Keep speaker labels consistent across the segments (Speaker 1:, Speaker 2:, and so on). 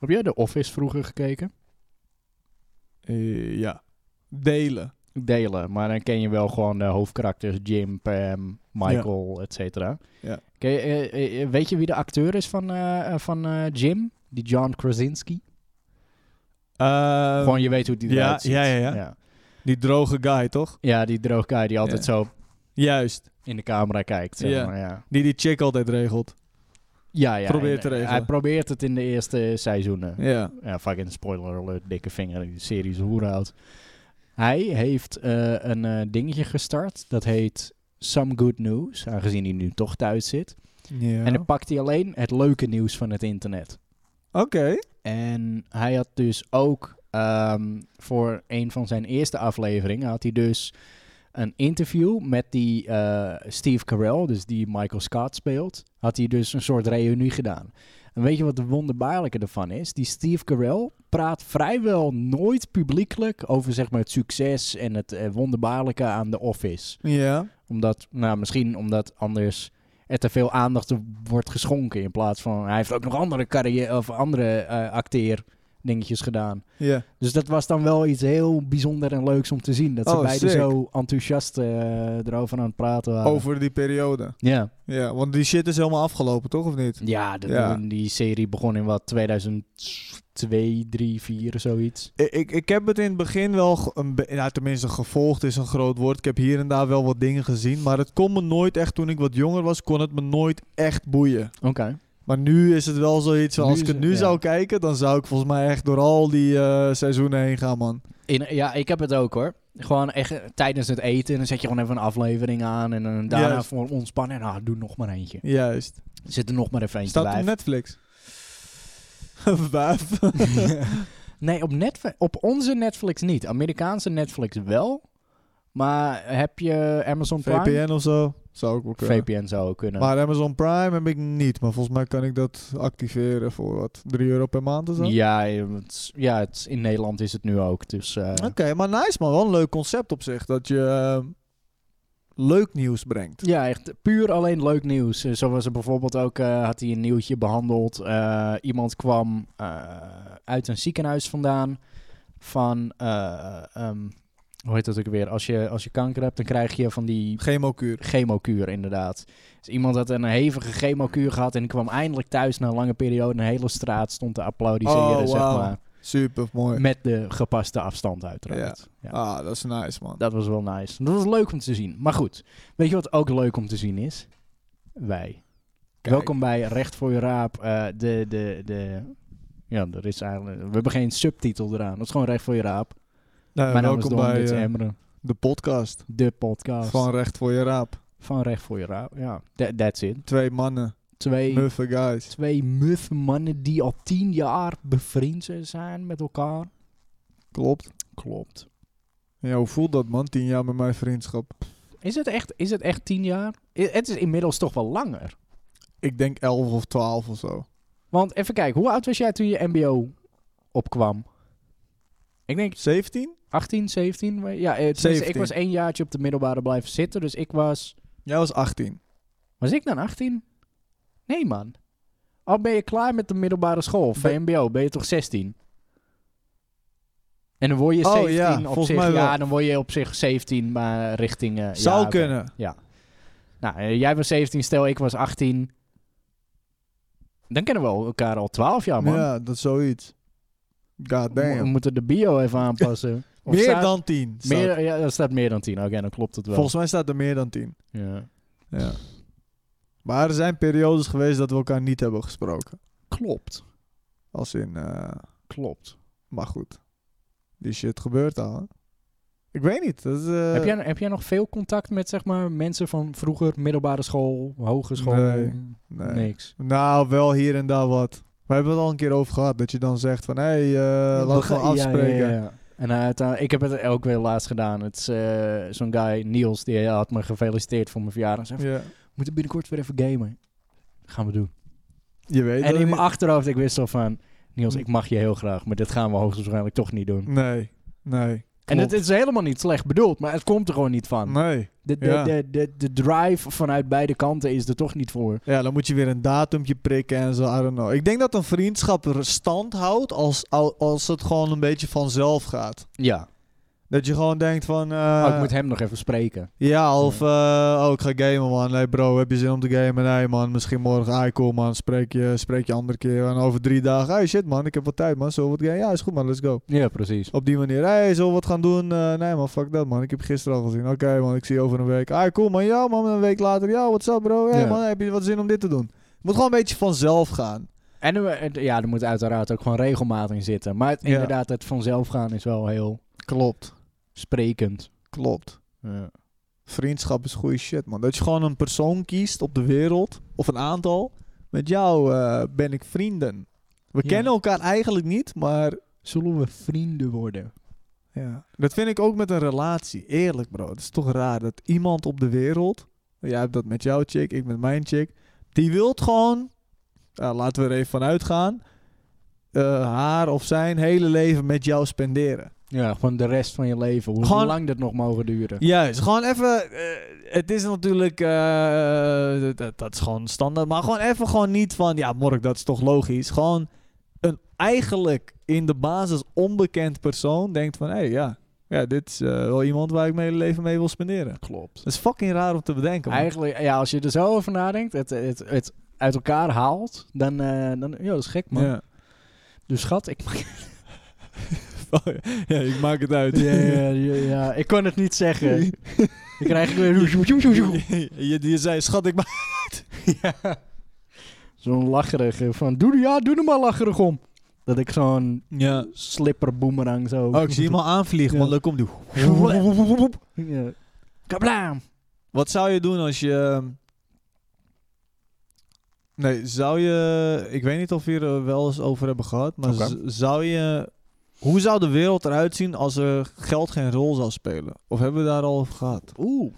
Speaker 1: Heb jij de Office vroeger gekeken?
Speaker 2: Eh, ja. Delen.
Speaker 1: Delen, maar dan ken je wel gewoon de hoofdkarakters Jim, Pam, Michael, et cetera.
Speaker 2: Ja.
Speaker 1: Ken je, eh, eh, weet je wie de acteur is van, eh, eh, van eh, Jim? Die John Krasinski?
Speaker 2: Eh,
Speaker 1: gewoon je weet hoe die
Speaker 2: ja,
Speaker 1: eruit ziet.
Speaker 2: ja, ja, ja.
Speaker 1: ja.
Speaker 2: Die droge guy, toch?
Speaker 1: Ja, die droog guy die altijd
Speaker 2: Ja.
Speaker 1: zo
Speaker 2: Juist.
Speaker 1: in de camera kijkt. Zeg
Speaker 2: Ja.
Speaker 1: maar, ja.
Speaker 2: Die die chick altijd regelt.
Speaker 1: Ja, ja.
Speaker 2: Probeert
Speaker 1: en,
Speaker 2: te
Speaker 1: eh,
Speaker 2: regelen.
Speaker 1: Hij probeert het in de eerste seizoenen. Ja,
Speaker 2: Ja.
Speaker 1: fucking spoiler alert, dikke vinger in de serie is hoer oud. Hij heeft eh, een eh, dingetje gestart, dat heet Some Good News, aangezien hij nu toch thuis zit.
Speaker 2: ja.
Speaker 1: En dan pakt hij alleen het leuke nieuws van het internet.
Speaker 2: Oké.
Speaker 1: En hij had dus ook ehm, voor een van zijn eerste afleveringen, had hij dus een interview met die eh, Steve Carell, dus die Michael Scott speelt, had hij dus een soort reunie gedaan. En weet je wat de wonderbaarlijke ervan is? Die Steve Carell praat vrijwel nooit publiekelijk over zeg maar, het succes en het eh, wonderbaarlijke aan The Office
Speaker 2: Ja.
Speaker 1: omdat, nou, misschien omdat anders er te veel aandacht wordt geschonken. In plaats van, hij heeft ook nog andere carrière of andere eh acteer dingetjes gedaan.
Speaker 2: Ja.
Speaker 1: Dus dat was dan wel iets heel bijzonder en leuks om te zien. Dat ze
Speaker 2: Oh,
Speaker 1: beiden
Speaker 2: sick.
Speaker 1: zo enthousiast eh, erover aan het praten waren.
Speaker 2: Over die periode.
Speaker 1: Ja,
Speaker 2: Ja, want die shit is helemaal afgelopen, toch? Of niet?
Speaker 1: ja, dat-
Speaker 2: Ja.
Speaker 1: die serie begon in wat, 2002, 3, 4, zoiets.
Speaker 2: I- Ik, ik heb het in het begin wel, ge- een be- ja, tenminste gevolgd is een groot woord. Ik heb hier en daar wel wat dingen gezien. Maar het kon me nooit echt, toen ik wat jonger was, kon het me nooit echt boeien.
Speaker 1: Oké.
Speaker 2: Maar nu is het wel zoiets van,
Speaker 1: Nu
Speaker 2: als ik
Speaker 1: is
Speaker 2: het
Speaker 1: het-
Speaker 2: nu
Speaker 1: ja.
Speaker 2: zou kijken, dan zou ik volgens mij echt door al die eh, seizoenen heen gaan, man.
Speaker 1: In- ja, ik heb het ook hoor. Gewoon echt eh, tijdens het eten, dan zet je gewoon even een aflevering aan en dan daarna
Speaker 2: Juist.
Speaker 1: voor ontspannen. En ah, doe nog maar eentje.
Speaker 2: Juist.
Speaker 1: Zit er nog maar even eentje
Speaker 2: Staat
Speaker 1: bij.
Speaker 2: op Netflix. Wijf.
Speaker 1: nee, op, Netflix, op onze Netflix niet. Amerikaanse Netflix wel. Maar heb je Amazon Prime?
Speaker 2: VPN of zo. Zou ik ook kunnen.
Speaker 1: VPN zou ook kunnen.
Speaker 2: Maar Amazon Prime heb ik niet. Maar volgens mij kan ik dat activeren voor wat? 3 euro per maand of zo?
Speaker 1: ja, je- het is- ja het is- in Nederland is het nu ook. Dus eh,
Speaker 2: Oké, maar nice man. Wel een leuk concept op zich. Dat je eh, leuk nieuws brengt.
Speaker 1: ja, echt puur alleen leuk nieuws. Eh, Zo was er bijvoorbeeld ook, eh, had hij een nieuwtje behandeld. Eh, iemand kwam eh, uit een ziekenhuis vandaan van, eh, ehm, hoe heet dat ook weer? Als je, als je kanker hebt, dan krijg je van die
Speaker 2: Chemokuur.
Speaker 1: chemokuur, inderdaad. Dus iemand had een hevige chemokuur gehad en die kwam eindelijk thuis na een lange periode. Een hele straat stond te applaudisseren,
Speaker 2: Oh,
Speaker 1: zeg
Speaker 2: wauw.
Speaker 1: maar.
Speaker 2: Super mooi.
Speaker 1: Met de gepaste afstand, uiteraard. Ja.
Speaker 2: Ah, dat is nice man.
Speaker 1: Dat was wel nice. Dat was leuk om te zien. Maar goed, weet je wat ook leuk om te zien is? Wij.
Speaker 2: Kijk.
Speaker 1: Welkom bij Recht voor je Raap. eh, de, de, de... Ja, er is eigenlijk... We hebben geen subtitel eraan. Dat is gewoon Recht voor je Raap.
Speaker 2: Nou,
Speaker 1: Mijn naam is
Speaker 2: welkom
Speaker 1: Don,
Speaker 2: bij
Speaker 1: dit is
Speaker 2: eh,
Speaker 1: Emre.
Speaker 2: de podcast
Speaker 1: De podcast
Speaker 2: van
Speaker 1: van,
Speaker 2: Recht voor je Raap.
Speaker 1: Recht voor je Raap. Ja, That- that's it.
Speaker 2: Twee mannen,
Speaker 1: Twee...
Speaker 2: muffe guys.
Speaker 1: Twee muffe mannen die al tien jaar bevriend zijn met elkaar.
Speaker 2: Klopt.
Speaker 1: Klopt.
Speaker 2: Ja, hoe voelt dat man? Tien jaar met mijn vriendschap.
Speaker 1: Is het echt, is het echt tien jaar? I- het is inmiddels toch wel langer.
Speaker 2: Ik denk elf of twaalf of zo.
Speaker 1: Want even kijken, hoe oud was jij toen je mbo opkwam? Ik denk
Speaker 2: 17?
Speaker 1: 18, 17. maar- Ja, eh, tenminste,
Speaker 2: 17.
Speaker 1: ik was één jaartje op de middelbare blijven zitten. Dus ik was...
Speaker 2: Jij was 18.
Speaker 1: Was ik dan 18? Nee, man. Al ben je klaar met de middelbare school,
Speaker 2: Ben-
Speaker 1: VMBO, ben je toch 16? En dan word je
Speaker 2: Oh,
Speaker 1: 17
Speaker 2: ja,
Speaker 1: op
Speaker 2: volgens
Speaker 1: zich.
Speaker 2: mij wel.
Speaker 1: Ja, dan word je op zich 17, maar richting... eh,
Speaker 2: Zou
Speaker 1: ja, oké.
Speaker 2: kunnen.
Speaker 1: Nou, eh, jij was 17, stel ik was 18. Dan kennen we elkaar al 12 jaar, man.
Speaker 2: Ja, dat is zoiets. God
Speaker 1: we
Speaker 2: damn.
Speaker 1: moeten de bio even aanpassen. Of
Speaker 2: Meer
Speaker 1: staat-
Speaker 2: dan 10. staat-
Speaker 1: Meer, ja, er staat meer dan 10. Oké, dan klopt het wel.
Speaker 2: Volgens mij staat er meer dan 10.
Speaker 1: Ja.
Speaker 2: Ja. Maar er zijn periodes geweest dat we elkaar niet hebben gesproken.
Speaker 1: Klopt.
Speaker 2: Als in, eh,
Speaker 1: Klopt.
Speaker 2: maar goed. Die shit gebeurt al. hè. Ik weet niet. Dat is, eh,
Speaker 1: heb, jij, heb jij nog veel contact met zeg maar, mensen van vroeger, middelbare school, hogeschool?
Speaker 2: Nee, nee.
Speaker 1: Niks.
Speaker 2: Nou, wel hier en daar wat. We hebben het al een keer over gehad. Dat je dan zegt van, hé, hey, eh, laten we
Speaker 1: Ja, ja,
Speaker 2: afspreken.
Speaker 1: ja, ja. En hij had, eh, ik heb het ook weer laatst gedaan. Het is eh, zo'n guy, Niels, die had me gefeliciteerd voor mijn verjaardag. Hij Zei,
Speaker 2: Ja.
Speaker 1: We moeten binnenkort weer even gamen. Gaan we doen.
Speaker 2: Je weet
Speaker 1: en
Speaker 2: het
Speaker 1: in
Speaker 2: niet.
Speaker 1: mijn achterhoofd, ik wist al van... Niels, ik mag je heel graag, maar dit gaan we hoogstwaarschijnlijk toch niet doen.
Speaker 2: Nee, nee.
Speaker 1: En
Speaker 2: Klopt.
Speaker 1: het, het is helemaal niet slecht bedoeld, maar het komt er gewoon niet van.
Speaker 2: Nee.
Speaker 1: De, de,
Speaker 2: ja.
Speaker 1: de, de, de drive vanuit beide kanten is er toch niet voor.
Speaker 2: Ja, dan moet je weer een datumpje prikken en zo. I don't know. Ik denk dat een vriendschap er stand houdt als, al- als het gewoon een beetje vanzelf gaat.
Speaker 1: Ja.
Speaker 2: Dat je gewoon denkt van... eh,
Speaker 1: Oh, ik moet hem nog even spreken.
Speaker 2: Ja, of eh, oh, ik ga gamen, man. Nee, bro, heb je zin om te gamen? Nee, man. Misschien morgen. Ah, cool, man. Spreek je, spreek je andere keer. En over drie dagen. Hey, shit, man. Ik heb wat tijd, man. Zo wat gamen. Ja, is goed, man. Let's go.
Speaker 1: Ja, precies.
Speaker 2: Op die manier. Hey, zullen we wat gaan doen? Eh, nee, man. Fuck dat, man. Ik heb gisteren al gezien. Oké, man. Ik zie je over een week. Ah, cool, man. Ja, man. Een week later. Ja, what's up, bro? Hey,
Speaker 1: Ja.
Speaker 2: man. Heb je wat zin om dit te doen? Het moet gewoon een beetje vanzelf gaan.
Speaker 1: En er- het- ja, er moet uiteraard ook gewoon regelmaat in zitten. Maar het-
Speaker 2: Ja.
Speaker 1: inderdaad, het vanzelf gaan is wel heel
Speaker 2: Klopt.
Speaker 1: sprekend.
Speaker 2: Klopt.
Speaker 1: Ja.
Speaker 2: Vriendschap is goede shit, man. Dat je gewoon een persoon kiest op de wereld, of een aantal. Met jou eh, ben ik vrienden. We
Speaker 1: Ja.
Speaker 2: kennen elkaar eigenlijk niet, maar
Speaker 1: Zullen we vrienden worden?
Speaker 2: ja. dat vind ik ook met een relatie. Eerlijk, bro. Het is toch raar dat iemand op de wereld, jij hebt dat met jouw chick, ik met mijn chick, die wilt gewoon, nou, laten we er even van uitgaan, eh, haar of zijn hele leven met jou spenderen.
Speaker 1: Ja, gewoon de rest van je leven. Hoe
Speaker 2: Gewoon-
Speaker 1: lang dat nog mogen duren.
Speaker 2: Juist, gewoon even. eh, het is natuurlijk. eh, dat, dat is gewoon standaard. Maar gewoon even gewoon niet van. Ja, Mork, dat is toch logisch. Gewoon een eigenlijk in de basis onbekend persoon denkt van. Hé, hey, ja. Ja, dit is eh, wel iemand waar ik mijn hele leven mee wil spenderen.
Speaker 1: Klopt.
Speaker 2: Dat is fucking raar om te bedenken. man.
Speaker 1: Eigenlijk, ja, als je er zo over nadenkt, het, het, het uit elkaar haalt, dan, eh dan ja, dat is gek, man.
Speaker 2: Ja.
Speaker 1: Dus schat, ik,
Speaker 2: ja, ik maak het uit.
Speaker 1: ja, ja, ja, ja, ik kon het niet zeggen. Ik krijg weer
Speaker 2: je, je zei, schat, ik maak.
Speaker 1: zo'n lacherige van, doe er- ja, doe er maar lacherig om. Dat ik zo'n
Speaker 2: Ja.
Speaker 1: slipper boemerang zo...
Speaker 2: Oh, ik zie iemand aanvliegen,
Speaker 1: Ja.
Speaker 2: want dan komt die.
Speaker 1: Ja. Kablaam!
Speaker 2: Wat zou je doen als je. Nee, zou je. Ik weet niet of we hier eh, wel eens over hebben gehad, maar
Speaker 1: Oké.
Speaker 2: z- zou je. Hoe zou de wereld eruit zien als er geld geen rol zou spelen? Of hebben we daar al over gehad?
Speaker 1: Oeh,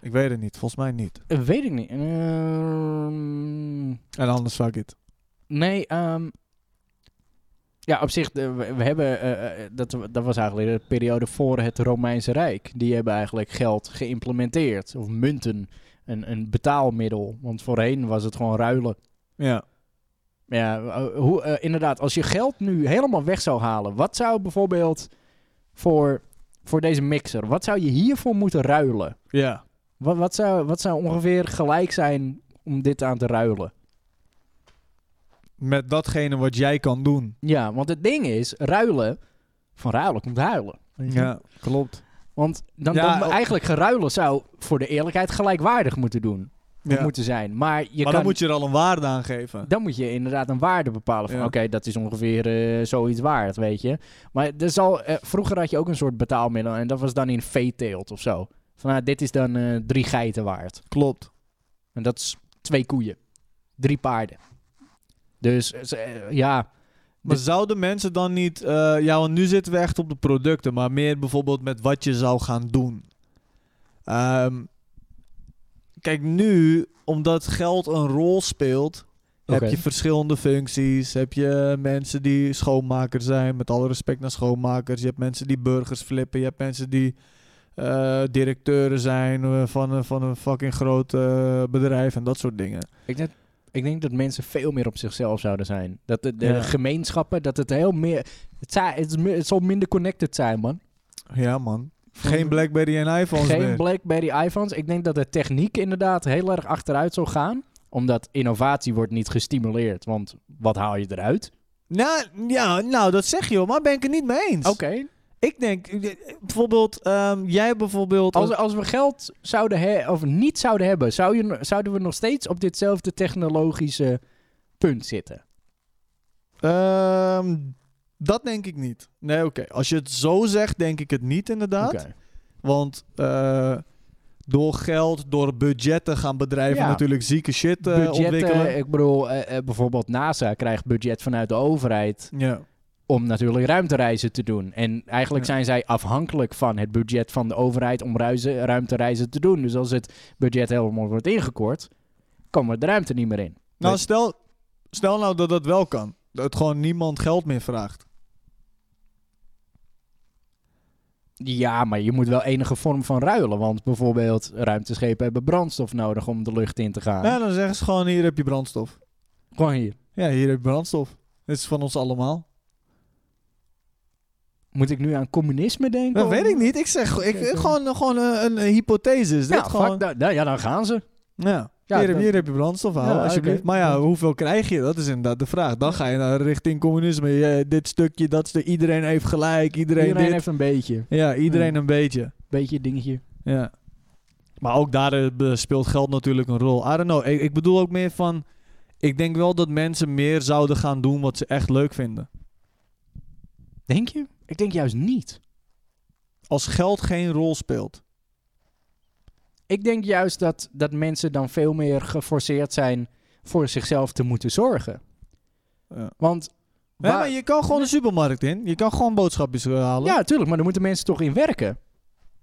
Speaker 2: Ik weet het niet, volgens mij niet.
Speaker 1: eh, weet ik niet. Ehm,
Speaker 2: En anders fuck it.
Speaker 1: nee, ehm, ja, op zich, de- we, we hebben, eh, eh, dat, dat was eigenlijk de periode voor het Romeinse Rijk. Die hebben eigenlijk geld geïmplementeerd, of munten, een, een betaalmiddel. Want voorheen was het gewoon ruilen.
Speaker 2: Ja.
Speaker 1: Ja, eh, hoe, eh, inderdaad. Als je geld nu helemaal weg zou halen, wat zou bijvoorbeeld voor, voor deze mixer, wat zou je hiervoor moeten ruilen?
Speaker 2: Ja.
Speaker 1: Wat, wat, zou, wat zou ongeveer gelijk zijn om dit aan te ruilen?
Speaker 2: Met datgene wat jij kan doen.
Speaker 1: Ja, want het ding is, ruilen, van ruilen komt huilen. Weet je?
Speaker 2: Ja, klopt.
Speaker 1: Want dan,
Speaker 2: Ja, oh.
Speaker 1: dan
Speaker 2: o-
Speaker 1: eigenlijk geruilen zou voor de eerlijkheid gelijkwaardig moeten doen.
Speaker 2: Ja.
Speaker 1: Moeten zijn. Maar, je
Speaker 2: maar
Speaker 1: kan,
Speaker 2: dan moet je er al een waarde aan geven.
Speaker 1: dan moet je inderdaad een waarde bepalen. Van
Speaker 2: Ja.
Speaker 1: oké, dat is ongeveer eh, zoiets waard, weet je. Maar er zal, eh, vroeger had je ook een soort betaalmiddel. En dat was dan in veeteelt of zo. Van nou, dit is dan eh, drie geiten waard.
Speaker 2: Klopt.
Speaker 1: En dat is twee koeien. Drie paarden. Dus eh, ze- eh, ja,
Speaker 2: Maar zouden mensen dan niet... eh, ja, want nu zitten we echt op de producten, maar meer bijvoorbeeld met wat je zou gaan doen. Ehm, kijk, nu, omdat geld een rol speelt,
Speaker 1: Oké.
Speaker 2: heb je verschillende functies. Heb je mensen die schoonmaker zijn, met alle respect naar schoonmakers. Je hebt mensen die burgers flippen. Je hebt mensen die eh, directeuren zijn eh, van, een- van een fucking groot eh, bedrijf en dat soort dingen.
Speaker 1: ik denk, ik denk dat mensen veel meer op zichzelf zouden zijn. Dat de, de
Speaker 2: Ja.
Speaker 1: gemeenschappen, dat het heel meer... Het, zou- het, is meer- het zal minder connected zijn, man.
Speaker 2: Ja, man. Geen Blackberry en iPhones
Speaker 1: Geen
Speaker 2: meer.
Speaker 1: BlackBerry iPhones. Ik denk dat de techniek inderdaad heel erg achteruit zal gaan. Omdat innovatie wordt niet gestimuleerd. Want wat haal je eruit?
Speaker 2: Nou, ja, nou, dat zeg je hoor, maar ben ik het niet mee eens.
Speaker 1: Oké.
Speaker 2: Ik denk, eh, bijvoorbeeld, ehm, jij bijvoorbeeld...
Speaker 1: Als, als we geld zouden hebben, of niet zouden hebben, zou je, zouden we nog steeds op ditzelfde technologische punt zitten.
Speaker 2: Ehm, dat denk ik niet. Nee, oké. Als je het zo zegt, denk ik het niet inderdaad.
Speaker 1: Oké.
Speaker 2: Want eh, door geld, door budgetten gaan bedrijven
Speaker 1: Ja.
Speaker 2: natuurlijk zieke shit eh,
Speaker 1: Budgetten,
Speaker 2: ontwikkelen.
Speaker 1: ik bedoel, eh, eh, bijvoorbeeld NASA krijgt budget vanuit de overheid
Speaker 2: Ja,
Speaker 1: om natuurlijk ruimtereizen te doen. En eigenlijk
Speaker 2: Ja.
Speaker 1: zijn zij afhankelijk van het budget van de overheid om ruizen, ruimtereizen te doen. Dus als het budget helemaal wordt ingekort, komen de ruimte niet meer in.
Speaker 2: nou
Speaker 1: Weet-
Speaker 2: stel, stel nou dat dat wel kan. Dat gewoon niemand geld meer vraagt.
Speaker 1: Ja, maar je moet wel enige vorm van ruilen. Want bijvoorbeeld ruimteschepen hebben brandstof nodig om de lucht in te gaan.
Speaker 2: Nou, dan zeggen ze gewoon, hier heb je brandstof.
Speaker 1: Gewoon hier.
Speaker 2: Ja, hier heb je brandstof. Dit is van ons allemaal.
Speaker 1: Moet ik nu aan communisme denken?
Speaker 2: Dat
Speaker 1: Of-
Speaker 2: weet ik niet. Ik zeg ik,
Speaker 1: Oké,
Speaker 2: gewoon, gewoon een, een, een hypothese. Is dit
Speaker 1: Ja,
Speaker 2: gewoon,
Speaker 1: fuck dat. Nou ja, dan gaan ze.
Speaker 2: ja.
Speaker 1: Ja,
Speaker 2: hier, heb-
Speaker 1: dat-
Speaker 2: hier heb je brandstof, hou,
Speaker 1: Ja,
Speaker 2: alsjeblieft.
Speaker 1: oké.
Speaker 2: Maar ja, hoeveel krijg je? Dat is inderdaad de vraag. Dan ga je naar richting communisme. Je- dit stukje, dat stukje. Iedereen heeft gelijk. Iedereen,
Speaker 1: Iedereen
Speaker 2: dit.
Speaker 1: heeft een beetje.
Speaker 2: Ja, iedereen
Speaker 1: Ja.
Speaker 2: een beetje.
Speaker 1: Beetje dingetje.
Speaker 2: Ja. Maar ook daar eh, be- speelt geld natuurlijk een rol. I don't know. Ik, ik bedoel ook meer van... Ik denk wel dat mensen meer zouden gaan doen wat ze echt leuk vinden.
Speaker 1: Denk je? Ik denk juist niet.
Speaker 2: Als geld geen rol speelt.
Speaker 1: Ik denk juist dat, dat mensen dan veel meer geforceerd zijn voor zichzelf te moeten zorgen.
Speaker 2: Ja.
Speaker 1: Want.
Speaker 2: Ja,
Speaker 1: waar-
Speaker 2: maar je kan gewoon de supermarkt in. Je kan gewoon boodschapjes eh, halen.
Speaker 1: ja, tuurlijk, maar daar moeten mensen toch in werken.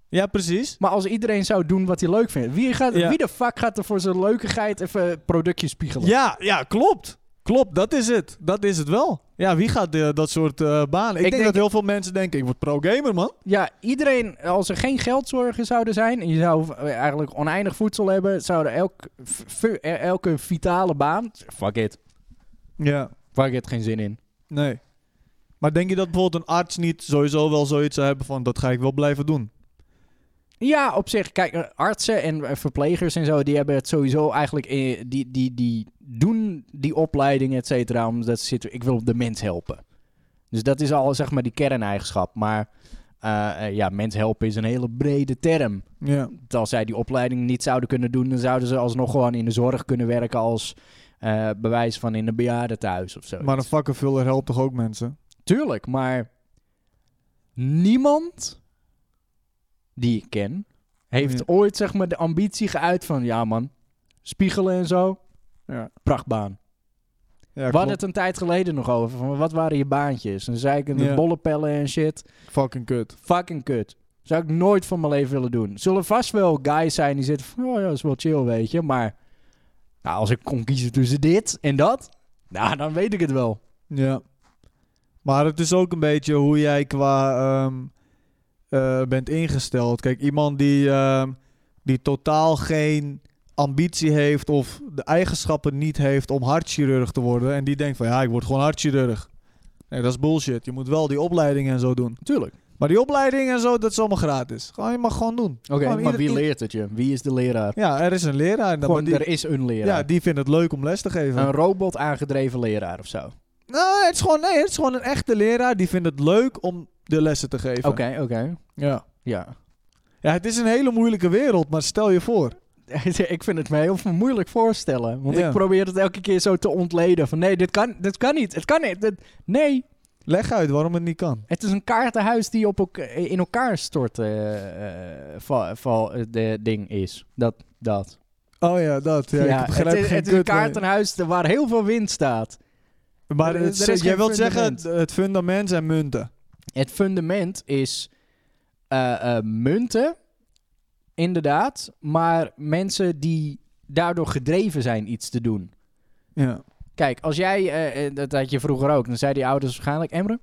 Speaker 2: ja precies.
Speaker 1: Maar als iedereen zou doen wat hij leuk vindt, wie, gaat,
Speaker 2: Ja.
Speaker 1: wie de fuck gaat er voor zijn leukigheid even productjes spiegelen?
Speaker 2: Ja, ja, klopt. Klopt, dat is het. Dat is het wel. Ja, wie gaat eh, dat soort eh, banen? Ik, denk,
Speaker 1: denk-
Speaker 2: dat heel veel mensen denken, ik word pro-gamer, man.
Speaker 1: Ja, iedereen, als er geen geldzorgen zouden zijn en je zou eh, eigenlijk oneindig voedsel hebben, zouden elk, v- v- eh, elke vitale baan. Fuck it.
Speaker 2: Ja.
Speaker 1: Fuck it, geen zin in.
Speaker 2: Nee. Maar denk je dat bijvoorbeeld een arts niet sowieso wel zoiets zou hebben van... dat ga ik wel blijven doen?
Speaker 1: Ja, op zich, kijk, eh, artsen en eh, verplegers en zo, die hebben het sowieso eigenlijk, eh, die, die, die doen die opleiding, et cetera, omdat ze zitten, ik wil de mens helpen. Dus dat is al, zeg maar, die kerneigenschap. Maar eh, eh, ja, mens helpen is een hele brede term.
Speaker 2: Ja.
Speaker 1: Want als zij die opleiding niet zouden kunnen doen, dan zouden ze alsnog gewoon in de zorg kunnen werken als eh, bewijs van in een bejaardentehuis of zo.
Speaker 2: Maar een vakkenvuller helpt toch ook mensen?
Speaker 1: Tuurlijk, maar niemand die ik ken heeft
Speaker 2: Ja.
Speaker 1: ooit zeg maar de ambitie geuit van ja man, spiegelen en zo.
Speaker 2: Ja.
Speaker 1: Prachtbaan.
Speaker 2: Ja,
Speaker 1: We hadden het een tijd geleden nog over van wat waren je baantjes? En dan zei ik in de
Speaker 2: Ja.
Speaker 1: bollenpellen en shit.
Speaker 2: Fucking kut.
Speaker 1: Fucking kut. Zou ik nooit van mijn leven willen doen. Zullen vast wel guys zijn die zitten van... Oh ja, dat is wel chill, weet je. Maar nou, als ik kon kiezen tussen dit en dat... Nou, dan weet ik het wel.
Speaker 2: Ja. Maar het is ook een beetje hoe jij qua ehm, eh, bent ingesteld. Kijk, iemand die, ehm, die totaal geen ambitie heeft of de eigenschappen niet heeft om hartchirurg te worden. En die denkt van ja, ik word gewoon hartchirurg. Nee, dat is bullshit. Je moet wel die opleiding en zo doen.
Speaker 1: Tuurlijk.
Speaker 2: Maar die opleiding en zo, dat is allemaal gratis. Gewoon, je mag gewoon doen.
Speaker 1: Oké,
Speaker 2: Gewoon
Speaker 1: maar
Speaker 2: ieder-
Speaker 1: wie
Speaker 2: i-
Speaker 1: leert het je? Wie is de leraar?
Speaker 2: Ja, er is een leraar. En dan
Speaker 1: Gewoon,
Speaker 2: maar die,
Speaker 1: er is een leraar.
Speaker 2: ja, die vindt het leuk om les te geven.
Speaker 1: Een robot aangedreven leraar of zo. Oké,
Speaker 2: Nou, het is gewoon, nee, het is gewoon een echte leraar. Die vindt het leuk om de lessen te geven.
Speaker 1: oké.
Speaker 2: Ja.
Speaker 1: Ja.
Speaker 2: ja, het is een hele moeilijke wereld, maar stel je voor.
Speaker 1: ik vind het me heel moeilijk voorstellen. Want
Speaker 2: Ja.
Speaker 1: ik probeer het elke keer zo te ontleden. Van nee, dit kan, dit kan niet. Het kan niet. dit- nee,
Speaker 2: Leg uit waarom het niet kan.
Speaker 1: Het is een kaartenhuis die op elk- in elkaar stort eh, eh, val, val- eh, de ding is. Dat, dat.
Speaker 2: Oh ja, dat. Ja, ik begrijp
Speaker 1: het, is-
Speaker 2: geen
Speaker 1: het is een
Speaker 2: kut meer.
Speaker 1: kaartenhuis te- waar heel veel wind staat.
Speaker 2: Maar
Speaker 1: Er-
Speaker 2: het,
Speaker 1: er is
Speaker 2: jij
Speaker 1: geen
Speaker 2: wilt zeggen, het,
Speaker 1: fundament.
Speaker 2: het fundament zijn munten.
Speaker 1: Het fundament is eh, eh, munten, inderdaad, maar mensen die daardoor gedreven zijn iets te doen.
Speaker 2: Ja.
Speaker 1: Kijk, als jij, eh, eh, dat had je vroeger ook, dan zeiden je ouders waarschijnlijk, Emre,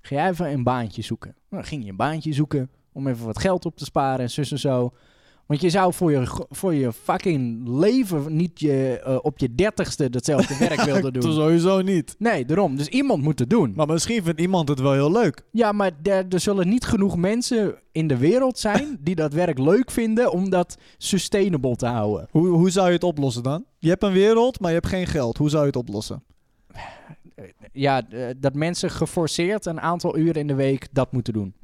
Speaker 1: ga jij even een baantje zoeken. Nou, dan ging je een baantje zoeken om even wat geld op te sparen en zus en zo. Want je zou voor je, go- voor je fucking leven niet je, eh, op je dertigste datzelfde werk willen
Speaker 2: Toch
Speaker 1: doen.
Speaker 2: sowieso niet.
Speaker 1: Nee, daarom. Dus iemand moet het doen.
Speaker 2: Maar misschien vindt iemand het wel heel leuk.
Speaker 1: Ja, maar er, er zullen niet genoeg mensen in de wereld zijn die dat werk leuk vinden om dat sustainable te houden.
Speaker 2: Hoe, hoe zou je het oplossen dan? Je hebt een wereld, maar je hebt geen geld. Hoe zou je het oplossen?
Speaker 1: Ja, eh, dat mensen geforceerd een aantal uren in de week dat moeten doen.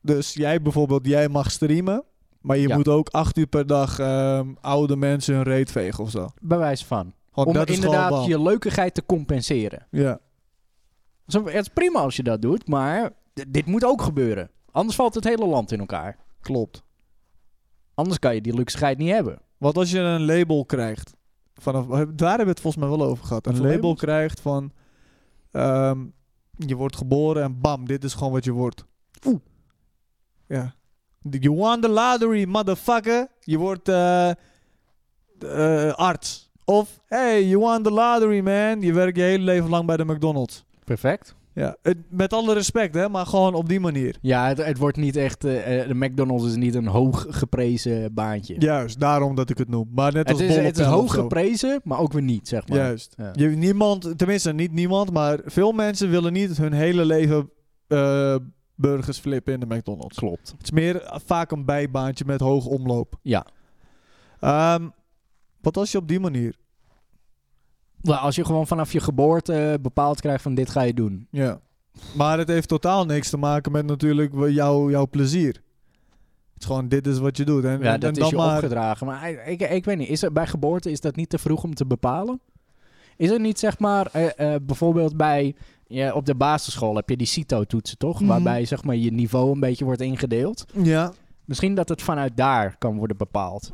Speaker 2: Dus jij bijvoorbeeld, jij mag streamen. Maar je
Speaker 1: Ja.
Speaker 2: moet ook acht uur per dag ehm, oude mensen hun reet vegen of zo.
Speaker 1: Bewijs van. om
Speaker 2: Gewoon, Oh, dat is gewoon
Speaker 1: inderdaad
Speaker 2: bal.
Speaker 1: je leukigheid te compenseren.
Speaker 2: Ja.
Speaker 1: Zo, Het is prima als je dat doet, maar d- dit moet ook gebeuren. Anders valt het hele land in elkaar.
Speaker 2: Klopt.
Speaker 1: Anders kan je die luxigheid niet hebben.
Speaker 2: Wat als je een label krijgt? Vanaf, daar hebben we het volgens mij wel over gehad. Een
Speaker 1: Wat voor
Speaker 2: label
Speaker 1: labels?
Speaker 2: krijgt van... ehm, je wordt geboren en bam, dit is gewoon wat je wordt.
Speaker 1: Oeh.
Speaker 2: Ja. You won the lottery, motherfucker. Je wordt eh, eh, arts. Of, hey, you won the lottery, man. Je werkt je hele leven lang bij de McDonald's.
Speaker 1: Perfect.
Speaker 2: Ja, het- met alle respect, hè, maar gewoon op die manier.
Speaker 1: Ja, het, het wordt niet echt. eh, eh, de McDonald's is niet een hoog geprezen baantje.
Speaker 2: Juist, daarom dat ik het noem. Maar net
Speaker 1: het
Speaker 2: als
Speaker 1: is,
Speaker 2: Bolle
Speaker 1: het is
Speaker 2: Pijl of
Speaker 1: hoog
Speaker 2: zo.
Speaker 1: geprezen, maar ook weer niet, zeg maar.
Speaker 2: Juist.
Speaker 1: Ja.
Speaker 2: Je, niemand, tenminste niet niemand, maar veel mensen willen niet hun hele leven eh, burgers flippen in de McDonald's.
Speaker 1: Klopt.
Speaker 2: Het is meer eh, vaak een bijbaantje met hoog omloop.
Speaker 1: Ja.
Speaker 2: Ehm, wat als je op die manier?
Speaker 1: Nou, als je gewoon vanaf je geboorte eh, bepaald krijgt van dit ga je doen.
Speaker 2: Ja. Maar het heeft totaal niks te maken met natuurlijk wa- jouw jouw plezier. Het is gewoon, dit is wat je doet. En,
Speaker 1: Ja,
Speaker 2: en- en
Speaker 1: dat
Speaker 2: dan
Speaker 1: is je
Speaker 2: maar,
Speaker 1: opgedragen. Maar ik, ik, ik weet niet, is er, bij geboorte is dat niet te vroeg om te bepalen? Is het niet, zeg maar, eh, eh, bijvoorbeeld bij... ja, op de basisschool heb je die CITO-toetsen, toch?
Speaker 2: Mhm.
Speaker 1: Waarbij, zeg maar, je niveau een beetje wordt ingedeeld.
Speaker 2: Ja,
Speaker 1: Misschien dat het vanuit daar kan worden bepaald.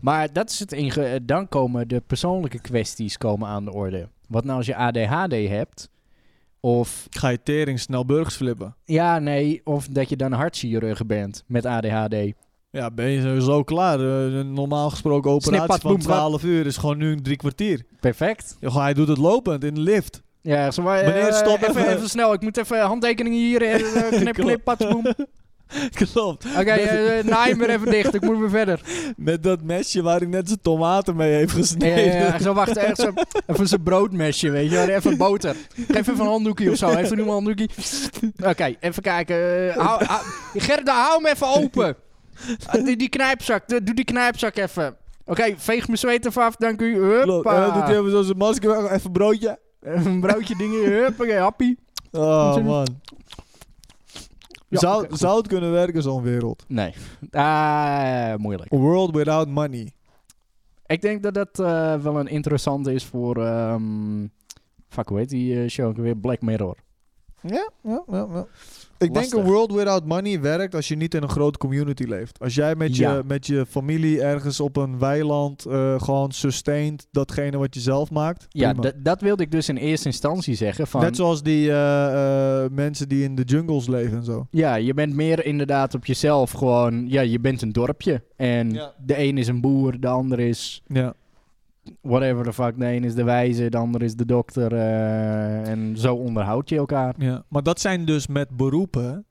Speaker 1: Maar dat is het inge- eh, dan komen de persoonlijke kwesties komen aan de orde. Wat nou als je ADHD hebt? Of,
Speaker 2: ga je tering snel burgers flippen.
Speaker 1: ja, nee, of dat je dan hartchirurg bent met ADHD.
Speaker 2: Ja, ben je sowieso klaar. Eh, Een normaal gesproken operatie
Speaker 1: Snippat,
Speaker 2: van
Speaker 1: boem, bap.
Speaker 2: 12 uur is gewoon nu een drie kwartier.
Speaker 1: Perfect.
Speaker 2: Ja, gewoon, hij doet het lopend in de lift.
Speaker 1: Ja, zo maar,
Speaker 2: Meneer,
Speaker 1: eh,
Speaker 2: stop
Speaker 1: even,
Speaker 2: even.
Speaker 1: even snel. Ik moet even handtekeningen hier. eh, eh, knip, knip, patsboem. Oké,
Speaker 2: Klopt.
Speaker 1: eh, eh, naai hem weer even dicht. Ik moet weer verder.
Speaker 2: Met dat mesje waar hij net zijn tomaten mee heeft
Speaker 1: Ja, ja,
Speaker 2: gesneden.
Speaker 1: ja, zo wacht. Echt zo, even zijn broodmesje, weet je wel. Even boter. Geef even een handdoekje of zo. Even een handdoekje. Oké, even kijken. Eh, hou, hou- Gerda, hou hem even open. Ah, die, die knijpzak. Doe doe die knijpzak even. Oké, veeg mijn zweet even af. Dank u.
Speaker 2: Klopt. En dan doet hij
Speaker 1: Huppa.
Speaker 2: even zo zijn masker weg, even broodje.
Speaker 1: Even Eh, een broodje dingen. Huppakee, happy.
Speaker 2: Oh
Speaker 1: Zin in-
Speaker 2: man.
Speaker 1: Ja,
Speaker 2: zou,
Speaker 1: oké, goed.
Speaker 2: zou het kunnen werken, zo'n wereld?
Speaker 1: Nee. Ah, moeilijk.
Speaker 2: A world without money.
Speaker 1: Ik denk dat dat eh, wel een interessante is voor. ehm fuck, hoe heet die eh, show ook weer? Black Mirror.
Speaker 2: Ja, ja, ja. ja. Ik
Speaker 1: Lastig.
Speaker 2: denk een world without money werkt als je niet in een grote community leeft. Als jij met,
Speaker 1: Ja.
Speaker 2: je, met je familie ergens op een weiland eh, gewoon sustaint datgene wat je zelf maakt.
Speaker 1: Ja,
Speaker 2: prima.
Speaker 1: dat- dat wilde ik dus in eerste instantie zeggen. Van,
Speaker 2: Net zoals die eh, eh, mensen die in de jungles leven en zo.
Speaker 1: Ja, je bent meer inderdaad op jezelf gewoon. Ja, je bent een dorpje. En
Speaker 2: Ja.
Speaker 1: de een is een boer, de ander is.
Speaker 2: Ja.
Speaker 1: Whatever the fuck. De een is de wijze, de ander is de dokter. eh, en zo onderhoud je elkaar.
Speaker 2: Ja, maar dat zijn dus met beroepen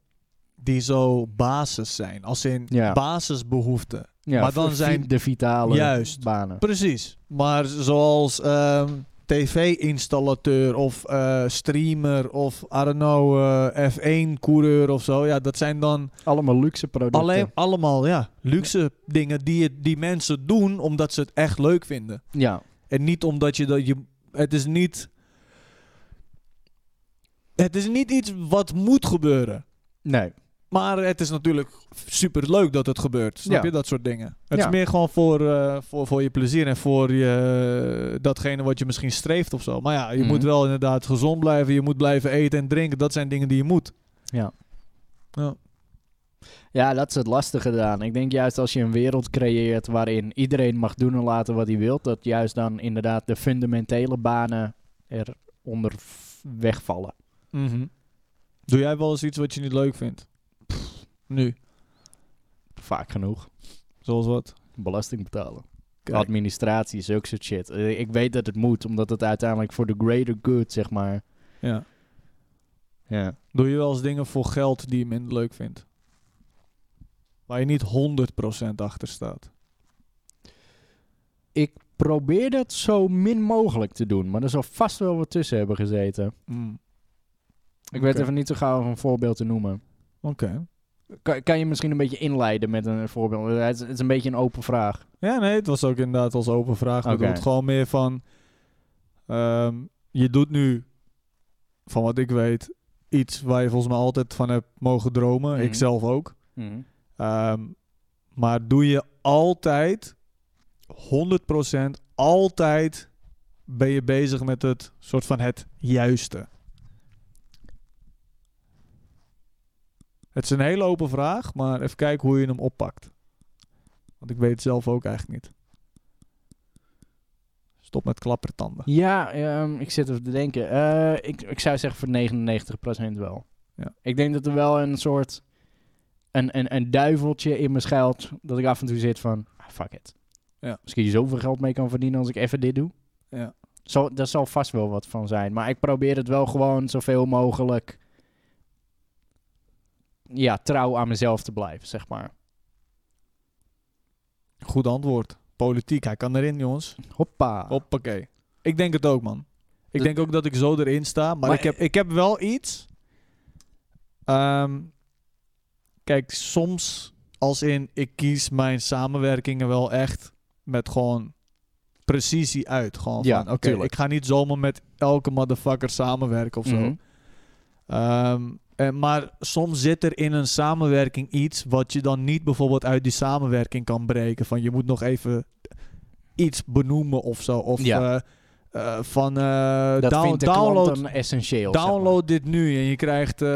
Speaker 2: die zo basis zijn. Als in
Speaker 1: Ja.
Speaker 2: basisbehoeften.
Speaker 1: Ja,
Speaker 2: Maar dan
Speaker 1: voor vi-
Speaker 2: zijn-
Speaker 1: de vitale
Speaker 2: Juist.
Speaker 1: banen.
Speaker 2: Precies. Maar zoals ehm, tv-installateur of eh, streamer of, I don't know, eh, F1-coureur of zo. Ja, dat zijn dan
Speaker 1: Allemaal luxe producten.
Speaker 2: alleen, allemaal ja, luxe dingen die, het- die mensen doen omdat ze het echt leuk vinden.
Speaker 1: Ja.
Speaker 2: En niet omdat je dat je. Het is niet. Het is niet iets wat moet gebeuren.
Speaker 1: Nee.
Speaker 2: Maar het is natuurlijk super leuk dat het gebeurt. Snap
Speaker 1: Ja.
Speaker 2: je dat soort dingen? Het
Speaker 1: Ja.
Speaker 2: is meer gewoon voor, eh, voor, voor je plezier en voor je, eh, datgene wat je misschien streeft of zo. Maar ja, je
Speaker 1: Mhm.
Speaker 2: moet wel inderdaad gezond blijven. Je moet blijven eten en drinken. Dat zijn dingen die je moet.
Speaker 1: Ja, dat is het lastige eraan. Ik denk juist als je een wereld creëert waarin iedereen mag doen en laten wat hij wil, dat juist dan inderdaad de fundamentele banen eronder v- wegvallen. Mhm.
Speaker 2: Doe jij wel eens iets wat je niet leuk vindt? Nu.
Speaker 1: Vaak genoeg.
Speaker 2: Zoals wat?
Speaker 1: Belasting betalen.
Speaker 2: Kijk.
Speaker 1: Administratie, zulke soort shit. Eh, Ik weet dat het moet, omdat het uiteindelijk voor de greater good, zeg maar.
Speaker 2: Ja.
Speaker 1: Ja.
Speaker 2: Doe je wel eens dingen voor geld die je minder leuk vindt? Waar je niet 100% achter staat.
Speaker 1: Ik probeer dat zo min mogelijk te doen, maar er zal vast wel wat tussen hebben gezeten. Ik weet
Speaker 2: Oké.
Speaker 1: even niet zo gauw een voorbeeld te noemen.
Speaker 2: Oké.
Speaker 1: Kan, kan je misschien een beetje inleiden met een voorbeeld? Eh, Het is, het is een beetje een open vraag.
Speaker 2: Ja, nee, het was ook inderdaad als open vraag. Ik bedoel,
Speaker 1: Oké.
Speaker 2: het gewoon meer van... ehm, je doet nu, van wat ik weet, iets waar je volgens mij altijd van hebt mogen dromen.
Speaker 1: Mhm.
Speaker 2: Ik zelf ook. Ehm, maar doe je altijd, 100% altijd, ben je bezig met het soort van het juiste. Het is een hele open vraag, maar even kijken hoe je hem oppakt. Want ik weet het zelf ook eigenlijk niet. Stop met klappertanden.
Speaker 1: Ja, ehm, ik zit even te denken. Eh, ik, ik zou zeggen voor 99% wel.
Speaker 2: Ja.
Speaker 1: Ik denk dat er wel een soort... Een, een, een duiveltje in me schuilt. Dat ik af en toe zit van... ah, fuck it.
Speaker 2: Ja.
Speaker 1: Misschien je zoveel geld mee kan verdienen als ik even dit doe.
Speaker 2: Ja.
Speaker 1: Zo, daar zal vast wel wat van zijn. Maar ik probeer het wel gewoon zoveel mogelijk... Ja, trouw aan mezelf te blijven, zeg maar.
Speaker 2: Goed antwoord. Politiek, hij kan erin, jongens.
Speaker 1: Hoppa.
Speaker 2: Hoppakee. Ik denk het ook, man. Ik
Speaker 1: Ah. De-
Speaker 2: denk ook dat ik zo erin sta. Maar,
Speaker 1: Maar- eh-
Speaker 2: ik, heb, ik heb wel iets. Ehm, kijk, soms als in ik kies mijn samenwerkingen wel echt met gewoon precisie uit. Gewoon
Speaker 1: Ja,
Speaker 2: van, oké,
Speaker 1: tuurlijk.
Speaker 2: ik ga niet zomaar met elke motherfucker samenwerken of zo.
Speaker 1: Mhm.
Speaker 2: Ehm, en- maar soms zit er in een samenwerking iets wat je dan niet bijvoorbeeld uit die samenwerking kan breken. Van je moet nog even iets benoemen of zo. Of
Speaker 1: Ja.
Speaker 2: eh, eh, van eh,
Speaker 1: Dat
Speaker 2: down-
Speaker 1: vindt de
Speaker 2: download,
Speaker 1: klant dan essentieel. zeg maar.
Speaker 2: download dit nu en je krijgt eh,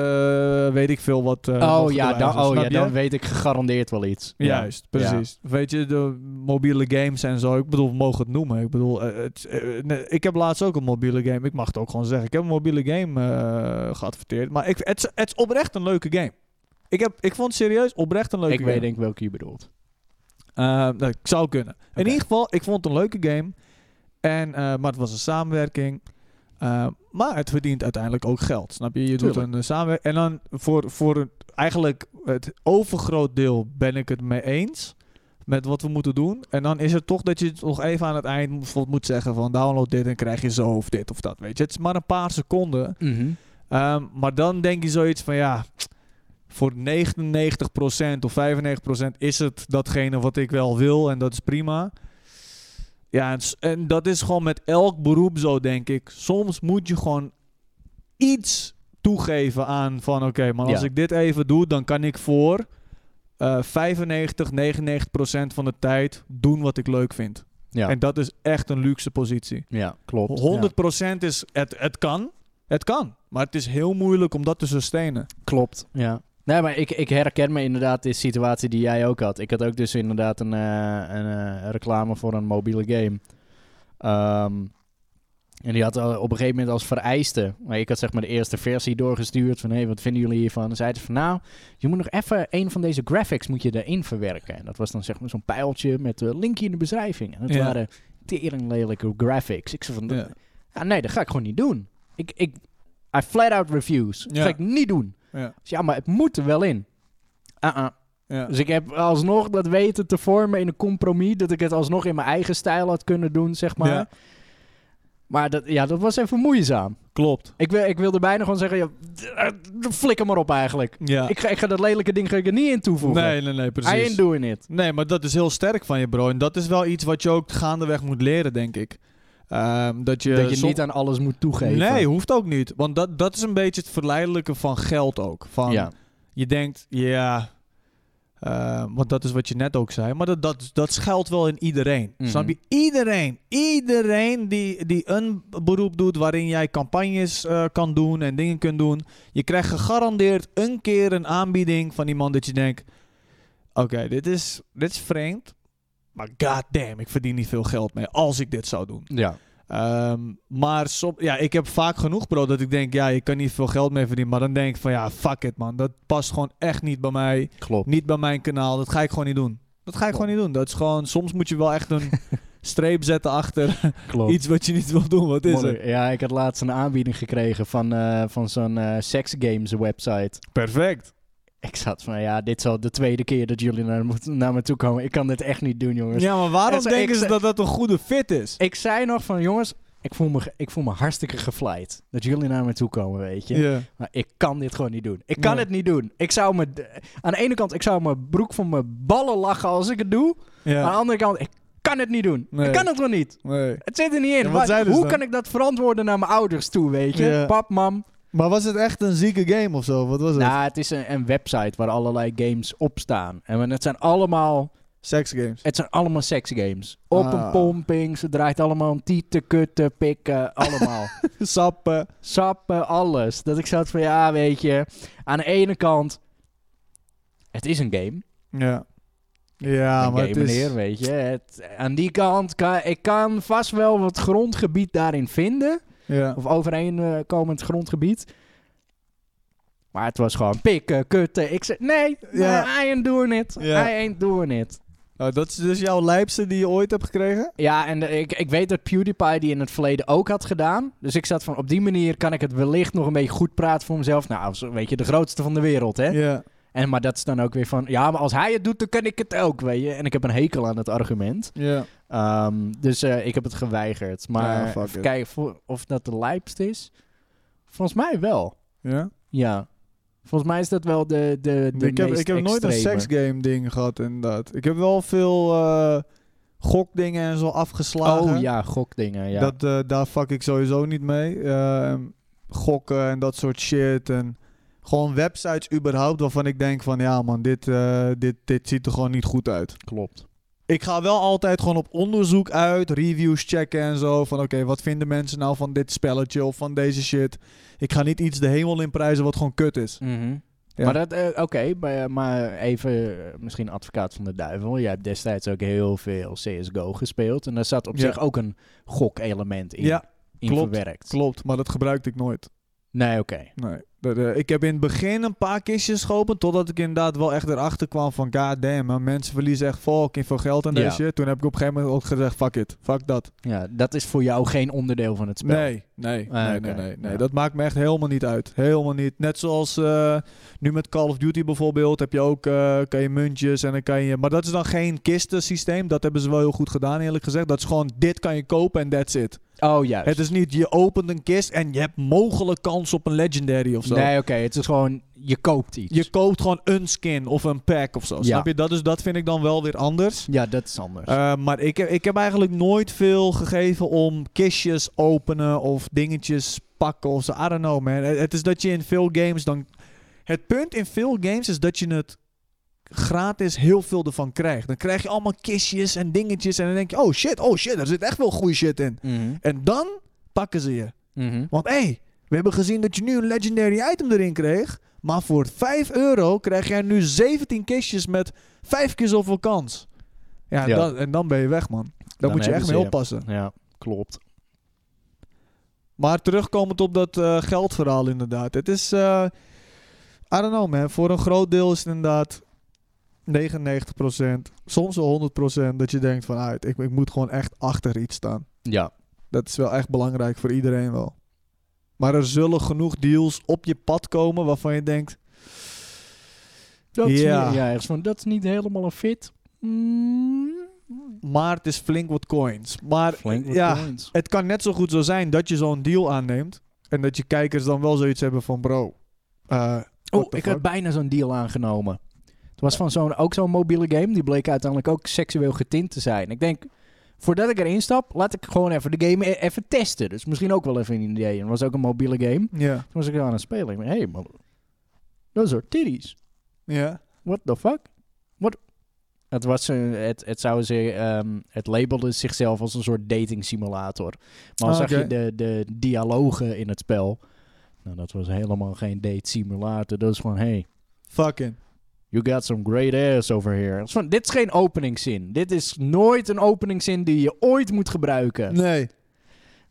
Speaker 2: weet ik veel wat. eh,
Speaker 1: Oh,
Speaker 2: wat
Speaker 1: ja,
Speaker 2: erbij
Speaker 1: dan,
Speaker 2: is,
Speaker 1: oh ja,
Speaker 2: snap je?
Speaker 1: dan weet ik gegarandeerd wel iets. Ja.
Speaker 2: Juist, precies. Weet je, de mobiele games en zo. Ik bedoel, we mogen het noemen. Ik bedoel, eh, het, eh, nee, ik heb laatst ook een mobiele game. Ik mag het ook gewoon zeggen. Ik heb een mobiele game eh, geadverteerd. Maar ik, het, is- het is oprecht een leuke game. Ik, heb, ik vond het serieus oprecht een leuke
Speaker 1: Ik
Speaker 2: game.
Speaker 1: weet denk ik welke je bedoelt.
Speaker 2: Eh, dat zou kunnen. In
Speaker 1: Oké.
Speaker 2: ieder geval, ik vond het een leuke game. En, eh, maar het was een samenwerking. Eh, maar het verdient uiteindelijk ook geld. Snap je? Je doet
Speaker 1: Tuurlijk.
Speaker 2: een eh, samenwerking. En dan voor, voor een- eigenlijk het overgroot deel ben ik het mee eens. Met wat we moeten doen. En dan is het toch dat je het nog even aan het eind bijvoorbeeld moet zeggen van download dit en krijg je zo of dit of dat. Weet je, het is maar een paar seconden. Ehm, maar dan denk je zoiets van ja, voor 99% of 95% is het datgene wat ik wel wil en dat is prima. Ja, en, s- en dat is gewoon met elk beroep zo, denk ik. Soms moet je gewoon iets toegeven aan van oké, maar als
Speaker 1: Ja.
Speaker 2: ik dit even doe, dan kan ik voor eh 95, 99% van de tijd doen wat ik leuk vind.
Speaker 1: Ja.
Speaker 2: En dat is echt een luxe positie.
Speaker 1: ja, klopt.
Speaker 2: 100% is het, het kan. Het kan. Maar het is heel moeilijk om dat te sustainen.
Speaker 1: Klopt, ja. Nee, maar ik, ik herken me inderdaad in de situatie die jij ook had. Ik had ook dus inderdaad een, eh, een eh, reclame voor een mobiele game. Ehm, en die had al op een gegeven moment als vereiste... Maar ik had zeg maar de eerste versie doorgestuurd van... hé, hey, wat vinden jullie hiervan? En zeiden ze van nou, je moet nog even een van deze graphics moet je erin verwerken. En dat was dan zeg maar zo'n pijltje met eh, linkje in de beschrijving. En dat
Speaker 2: Ja.
Speaker 1: waren tering lelijke graphics. Ik zei van,
Speaker 2: Ja.
Speaker 1: ja, nee, dat ga ik gewoon niet doen. Ik, ik, I flat out refuse. Dat
Speaker 2: Ja.
Speaker 1: ga ik niet doen.
Speaker 2: Ja.
Speaker 1: Dus ja, maar het moet er wel in. Ah, ah.
Speaker 2: Ja.
Speaker 1: Dus ik heb alsnog dat weten te vormen in een compromis. Dat ik het alsnog in mijn eigen stijl had kunnen doen, zeg maar.
Speaker 2: Ja.
Speaker 1: Maar dat, ja, dat was even moeizaam.
Speaker 2: Klopt.
Speaker 1: Ik, wil, ik wilde bijna gewoon zeggen, ja, d- eh, d- flikker maar op eigenlijk.
Speaker 2: Ja.
Speaker 1: Ik, ga, ik ga dat lelijke ding ga ik er niet in toevoegen.
Speaker 2: nee, nee, nee,
Speaker 1: I ain't
Speaker 2: precies.
Speaker 1: doing it.
Speaker 2: Nee, maar dat is heel sterk van je, bro. En dat is wel iets wat je ook gaandeweg moet leren, denk ik. Ehm, dat je,
Speaker 1: dat je
Speaker 2: som-
Speaker 1: niet aan alles moet toegeven.
Speaker 2: Nee, hoeft ook niet. Want dat, dat is een beetje het verleidelijke van geld ook. Van,
Speaker 1: ja.
Speaker 2: Je denkt, ja... eh, want dat is wat je net ook zei. Maar dat, dat, dat schuilt wel in iedereen.
Speaker 1: Mhm.
Speaker 2: Snap je? Iedereen. Iedereen die, die een beroep doet waarin jij campagnes eh, kan doen en dingen kunt doen. Je krijgt gegarandeerd een keer een aanbieding van iemand dat je denkt... Oké, dit, is, dit is vreemd. Maar goddamn, ik verdien niet veel geld mee als ik dit zou doen.
Speaker 1: ja.
Speaker 2: Ehm, maar som, ja, ik heb vaak genoeg, bro, dat ik denk, ja, ik kan niet veel geld mee verdienen. Maar dan denk ik van, ja, fuck it, man. Dat past gewoon echt niet bij mij.
Speaker 1: klopt.
Speaker 2: Niet bij mijn kanaal. Dat ga ik gewoon niet doen. Dat ga ik gewoon niet doen. Dat is gewoon, soms moet je wel echt een streep zetten achter
Speaker 1: klopt.
Speaker 2: iets wat je niet wil doen. Wat is het?
Speaker 1: Modder- Ja, ik had laatst een aanbieding gekregen van, eh, van zo'n eh seksgames website.
Speaker 2: Perfect.
Speaker 1: Ik zat van, ja, dit zal de tweede keer dat jullie naar, moet- naar me toe komen. Ik kan dit echt niet doen, jongens.
Speaker 2: Ja, maar waarom
Speaker 1: Echt,
Speaker 2: denken
Speaker 1: ik-
Speaker 2: ze dat dat een goede fit is?
Speaker 1: Ik zei nog van, jongens, ik voel, me, ge- ik voel me hartstikke gevleid dat jullie naar me toe komen, weet je.
Speaker 2: Ja.
Speaker 1: Maar ik kan dit gewoon niet doen. Ik kan
Speaker 2: Nee.
Speaker 1: het niet doen. Ik zou me, d- aan de ene kant, ik zou mijn broek van mijn ballen lachen als ik het doe. Aan de
Speaker 2: ja.
Speaker 1: andere kant, ik kan het niet doen.
Speaker 2: Nee.
Speaker 1: Ik kan het gewoon niet.
Speaker 2: Nee.
Speaker 1: Het zit er niet in.
Speaker 2: En wat
Speaker 1: Wa-
Speaker 2: zeiden ze
Speaker 1: hoe
Speaker 2: dus dan?
Speaker 1: kan ik dat verantwoorden naar mijn ouders toe, weet je?
Speaker 2: Ja.
Speaker 1: Pap, mam,
Speaker 2: Maar was het echt een zieke game of zo? Wat was het?
Speaker 1: Nou, het is een, een website waar allerlei games op staan. En het zijn allemaal,
Speaker 2: Seksgames.
Speaker 1: het zijn allemaal seksgames. Op
Speaker 2: Ah.
Speaker 1: een pomping, ze draait allemaal om tieten, kutten, pikken, allemaal.
Speaker 2: Sappen.
Speaker 1: Sappen, alles. Dat ik zat van, ja, weet je. Aan de ene kant, het is een game.
Speaker 2: Ja. Ja,
Speaker 1: een
Speaker 2: maar
Speaker 1: game,
Speaker 2: het is...
Speaker 1: meneer, weet je. Het, aan die kant, kan, ik kan vast wel wat grondgebied daarin vinden.
Speaker 2: Ja.
Speaker 1: Of overeenkomend grondgebied. Maar het was gewoon pikken, kutten. Ik zei, nee,
Speaker 2: Ja.
Speaker 1: nee, I ain't doing it.
Speaker 2: Ja.
Speaker 1: I ain't doing it.
Speaker 2: Nou, dat is dus jouw lijpste die je ooit hebt gekregen?
Speaker 1: Ja, en eh, ik, ik weet dat PewDiePie die in het verleden ook had gedaan. Dus ik zat van, op die manier kan ik het wellicht nog een beetje goed praten voor mezelf. Nou, als, weet je, de grootste van de wereld, hè?
Speaker 2: Ja.
Speaker 1: En, maar dat is dan ook weer van, ja, maar als hij het doet, dan kan ik het ook, weet je. En ik heb een hekel aan het argument.
Speaker 2: ja.
Speaker 1: Ehm, dus eh, ik heb het geweigerd.
Speaker 2: Ja,
Speaker 1: Maar
Speaker 2: fuck
Speaker 1: even
Speaker 2: it.
Speaker 1: kijken voor- of dat de lijpste is. Volgens mij wel.
Speaker 2: ja?
Speaker 1: Ja. Volgens mij is dat wel de, de, de
Speaker 2: ik heb, ik heb nooit een seksgame ding gehad, inderdaad. Ik heb wel veel eh, gokdingen en zo afgeslagen.
Speaker 1: Oh ja, gokdingen, ja.
Speaker 2: Dat, eh, daar fuck ik sowieso niet mee. Ehm, gokken en dat soort shit. En gewoon websites überhaupt waarvan ik denk van... Ja man, dit, eh, dit, dit ziet er gewoon niet goed uit.
Speaker 1: klopt.
Speaker 2: Ik ga wel altijd gewoon op onderzoek uit. Reviews checken en zo. Van oké, wat vinden mensen nou van dit spelletje of van deze shit. Ik ga niet iets de hemel in prijzen wat gewoon kut is. Ja.
Speaker 1: Maar dat, eh, oké, maar- maar even eh, misschien advocaat van de duivel. Jij hebt destijds ook heel veel CSGO gespeeld. En daar zat op
Speaker 2: Ja.
Speaker 1: zich ook een gokelement in,
Speaker 2: Ja,
Speaker 1: in
Speaker 2: klopt,
Speaker 1: verwerkt.
Speaker 2: klopt. Maar dat gebruikte ik nooit.
Speaker 1: Nee, oké.
Speaker 2: Nee. Dat, eh, ik heb in het begin een paar kistjes geopend. Totdat ik inderdaad wel echt erachter kwam van... God damn, man, mensen verliezen echt fucking veel geld aan
Speaker 1: Ja.
Speaker 2: deze shit. Toen heb ik op een gegeven moment ook gezegd... Fuck it, fuck dat.
Speaker 1: Ja, dat is voor jou geen onderdeel van het spel.
Speaker 2: Nee, nee,
Speaker 1: Ah,
Speaker 2: nee,
Speaker 1: oké.
Speaker 2: nee, nee, nee.
Speaker 1: Ja.
Speaker 2: Dat maakt me echt helemaal niet uit. Helemaal niet. Net zoals eh, nu met Call of Duty bijvoorbeeld. Heb je ook, eh, kan je muntjes en dan kan je... Maar dat is dan geen kistensysteem. Dat hebben ze wel heel goed gedaan eerlijk gezegd. Dat is gewoon, dit kan je kopen en that's it.
Speaker 1: Oh, juist.
Speaker 2: Het is niet, je opent een kist en je hebt mogelijk kans op een legendary of zo.
Speaker 1: Nee, oké. het is gewoon, je koopt iets.
Speaker 2: Je koopt gewoon een skin of een pack of zo. Snap je? Dat, is, dat vind ik dan wel weer anders.
Speaker 1: Ja, dat is anders.
Speaker 2: Eh, maar ik, heb- ik heb eigenlijk nooit veel gegeven om kistjes openen of dingetjes pakken of zo. I don't know, man. Het, het is dat je in veel games dan. Het punt in veel games is dat je het gratis heel veel ervan krijgt. Dan krijg je allemaal kistjes en dingetjes. En dan denk je, oh shit, oh shit, daar zit echt wel goede shit in.
Speaker 1: Mhm.
Speaker 2: En dan pakken ze je.
Speaker 1: Mhm.
Speaker 2: Want hé, hey, we hebben gezien dat je nu een legendary item erin kreeg. Maar voor 5 euro krijg jij nu 17 kistjes met 5 keer zoveel kans. Ja, en,
Speaker 1: Ja.
Speaker 2: Dan, en dan ben je weg, man. Dan,
Speaker 1: Dan
Speaker 2: moet je
Speaker 1: hebben
Speaker 2: echt
Speaker 1: ze
Speaker 2: mee
Speaker 1: je.
Speaker 2: oppassen.
Speaker 1: Ja, klopt.
Speaker 2: Maar terugkomend op dat eh, geldverhaal, inderdaad. Het is, eh I don't know, man. Voor een groot deel is het inderdaad 99%, soms wel 100% dat je denkt van, uit, ik, ik moet gewoon echt achter iets staan.
Speaker 1: Ja.
Speaker 2: Dat is wel echt belangrijk voor iedereen wel. Maar er zullen genoeg deals op je pad komen waarvan je denkt...
Speaker 1: Dat is
Speaker 2: Ja.
Speaker 1: niet- ja, ergens van, dat is niet helemaal een fit. Mm.
Speaker 2: Maar het is flink wat coins. Maar ja, het kan net zo goed zo zijn dat je zo'n deal aanneemt. En dat je kijkers dan wel zoiets hebben van bro. eh,
Speaker 1: Oh,
Speaker 2: what the
Speaker 1: ik
Speaker 2: fuck?
Speaker 1: had bijna zo'n deal aangenomen. Het was van zo'n, ook zo'n mobiele game. Die bleek uiteindelijk ook seksueel getint te zijn. Ik denk, voordat ik erin stap, laat ik gewoon even de game e- even testen. Dus misschien ook wel even een idee. En het was ook een mobiele game.
Speaker 2: Ja,
Speaker 1: Toen was ik aan het spelen. Ik dacht, hey man, dat zijn titties.
Speaker 2: ja,
Speaker 1: What the fuck? What? Het, was een, het, het, zou ze, ehm, het labelde zichzelf als een soort dating simulator. Maar
Speaker 2: Ah,
Speaker 1: zag
Speaker 2: oké.
Speaker 1: je de, de dialogen in het spel. Nou, dat was helemaal geen date simulator. Dat is gewoon, hey,
Speaker 2: fucking.
Speaker 1: you got some great ass over here. Dat is van, dit is geen openingszin. Dit is nooit een openingszin die je ooit moet gebruiken.
Speaker 2: Nee.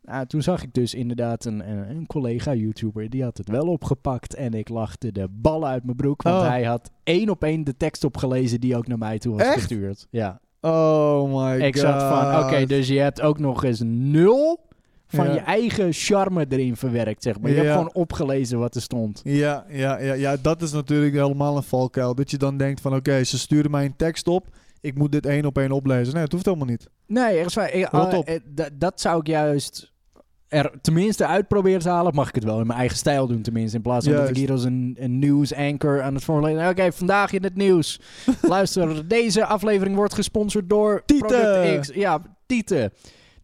Speaker 1: Nou, toen zag ik dus inderdaad een, een, een collega-YouTuber, die had het wel opgepakt. En ik lachte de ballen uit mijn broek, want
Speaker 2: Oh.
Speaker 1: hij had één op één de tekst opgelezen die ook naar mij toe was
Speaker 2: Echt?
Speaker 1: gestuurd. Ja.
Speaker 2: Oh my god.
Speaker 1: ik zat van, oké, dus je hebt ook nog eens nul van
Speaker 2: Ja.
Speaker 1: je eigen charme erin verwerkt, zeg maar. Je
Speaker 2: Ja.
Speaker 1: hebt gewoon opgelezen wat er stond.
Speaker 2: Ja, ja, ja, ja, dat is natuurlijk helemaal een valkuil. Dat je dan denkt van oké, ze sturen mij een tekst op. Ik moet dit één op één oplezen. Nee, het hoeft helemaal niet.
Speaker 1: Nee, ergens van, eh,
Speaker 2: Rot
Speaker 1: eh,
Speaker 2: op.
Speaker 1: eh, da- dat zou ik juist er tenminste uit proberen te halen. Mag ik het wel in mijn eigen stijl doen tenminste. In plaats van dat ik
Speaker 2: Juist.
Speaker 1: hier als een, een nieuwsanker aan het formuleren. Oké, vandaag in het nieuws. Luister, deze aflevering wordt gesponsord door
Speaker 2: Tieten.
Speaker 1: Product X. Ja, Tieten.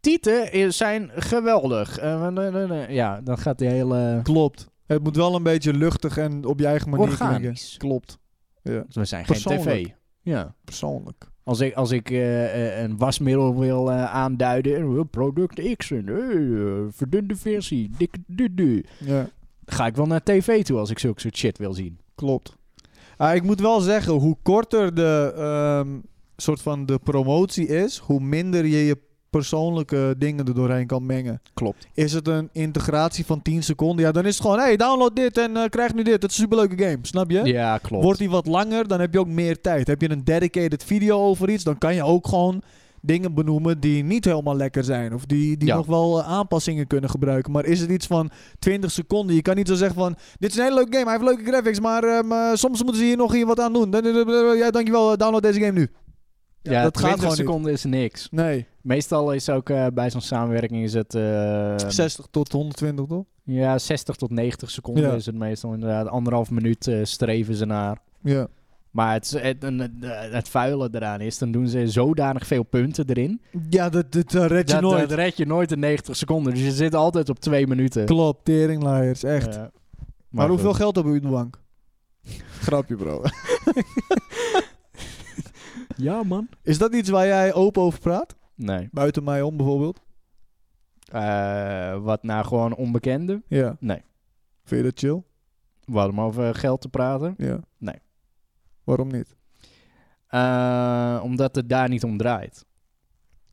Speaker 1: Tieten is- zijn geweldig. Eh, eh, eh, eh, eh, ja, dan gaat die hele...
Speaker 2: Klopt. Het moet wel een beetje luchtig en op je eigen manier klinken.
Speaker 1: Organisch.
Speaker 2: Klopt. Ja.
Speaker 1: We zijn geen tv.
Speaker 2: Persoonlijk.
Speaker 1: Ja.
Speaker 2: Persoonlijk.
Speaker 1: Als ik, als ik eh, eh, een wasmiddel wil eh, aanduiden, eh, product X, en, eh, eh, verdunde versie, dikke dudu.
Speaker 2: Ja,
Speaker 1: Ga ik wel naar tv toe als ik zulke soort shit wil zien.
Speaker 2: klopt. Ah, ik moet wel zeggen, hoe korter de ehm, soort van de promotie is, hoe minder je je persoonlijke dingen er doorheen kan mengen.
Speaker 1: Klopt.
Speaker 2: Is het een integratie van 10 seconden? Ja, dan is het gewoon, hey, download dit en eh, krijg nu dit. Het is een superleuke game, snap je?
Speaker 1: Ja, klopt.
Speaker 2: Wordt die wat langer, dan heb je ook meer tijd. Heb je een dedicated video over iets, dan kan je ook gewoon dingen benoemen die niet helemaal lekker zijn. Of die, die
Speaker 1: Ja.
Speaker 2: nog wel eh, aanpassingen kunnen gebruiken. Maar is het iets van 20 seconden? Je kan niet zo zeggen van, dit is een hele leuke game, hij heeft leuke graphics, maar ehm, eh, soms moeten ze hier nog hier wat aan doen. Ja, dankjewel, eh, download deze game nu.
Speaker 1: ja, 20 seconden is niks.
Speaker 2: niet. Nee,
Speaker 1: Meestal is ook eh, bij zo'n samenwerking is het... eh,
Speaker 2: 60 tot 120 toch?
Speaker 1: Ja, 60 tot 90 seconden
Speaker 2: Ja.
Speaker 1: is het meestal inderdaad. Anderhalf minuut eh, streven ze naar.
Speaker 2: Ja.
Speaker 1: Maar het, is- het, en het, het vuile eraan is, dan doen ze zodanig veel punten erin.
Speaker 2: Ja, dat, dat eh, red je
Speaker 1: dat,
Speaker 2: nooit.
Speaker 1: dat red je nooit in 90 seconden. Dus je zit altijd op twee minuten.
Speaker 2: Klopt, teringlaaiers, echt.
Speaker 1: Eh, maar
Speaker 2: maar
Speaker 1: goed.
Speaker 2: hoeveel geld hebben we in de bank? Grapje, bro.
Speaker 1: Ja, man.
Speaker 2: Is dat iets waar jij open over praat?
Speaker 1: Nee.
Speaker 2: Buiten mij om bijvoorbeeld?
Speaker 1: Eh, wat nou gewoon onbekende?
Speaker 2: Ja.
Speaker 1: Nee.
Speaker 2: Vind je dat chill?
Speaker 1: We hadden maar over geld te praten.
Speaker 2: Ja.
Speaker 1: Nee.
Speaker 2: Waarom niet?
Speaker 1: Eh, omdat het daar niet om draait.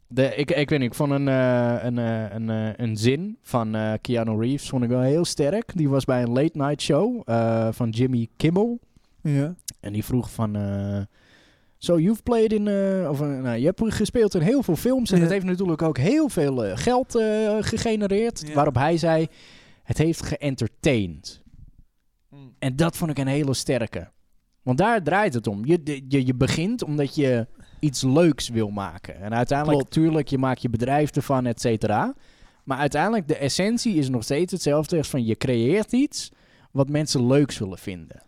Speaker 1: De, ik, ik weet niet, ik vond een, eh, een, eh, een, eh, een zin van eh, Keanu Reeves vond ik wel heel sterk. Die was bij een late night show eh, van Jimmy Kimmel.
Speaker 2: Ja.
Speaker 1: En die vroeg van... eh, so you've played in... eh, of, eh, nou, je hebt gespeeld in heel veel films. En
Speaker 2: Ja.
Speaker 1: het heeft natuurlijk ook heel veel eh, geld eh, gegenereerd.
Speaker 2: Ja.
Speaker 1: Waarop hij zei... Het heeft geëntertained.
Speaker 2: Mm.
Speaker 1: En dat vond ik een hele sterke. Want daar draait het om. Je, de- je, je begint omdat je iets leuks wil maken. En uiteindelijk,
Speaker 2: Klopt.
Speaker 1: tuurlijk, je maakt je bedrijf ervan, et cetera. Maar uiteindelijk, de essentie is nog steeds hetzelfde. Is van je creëert iets wat mensen leuk zullen vinden.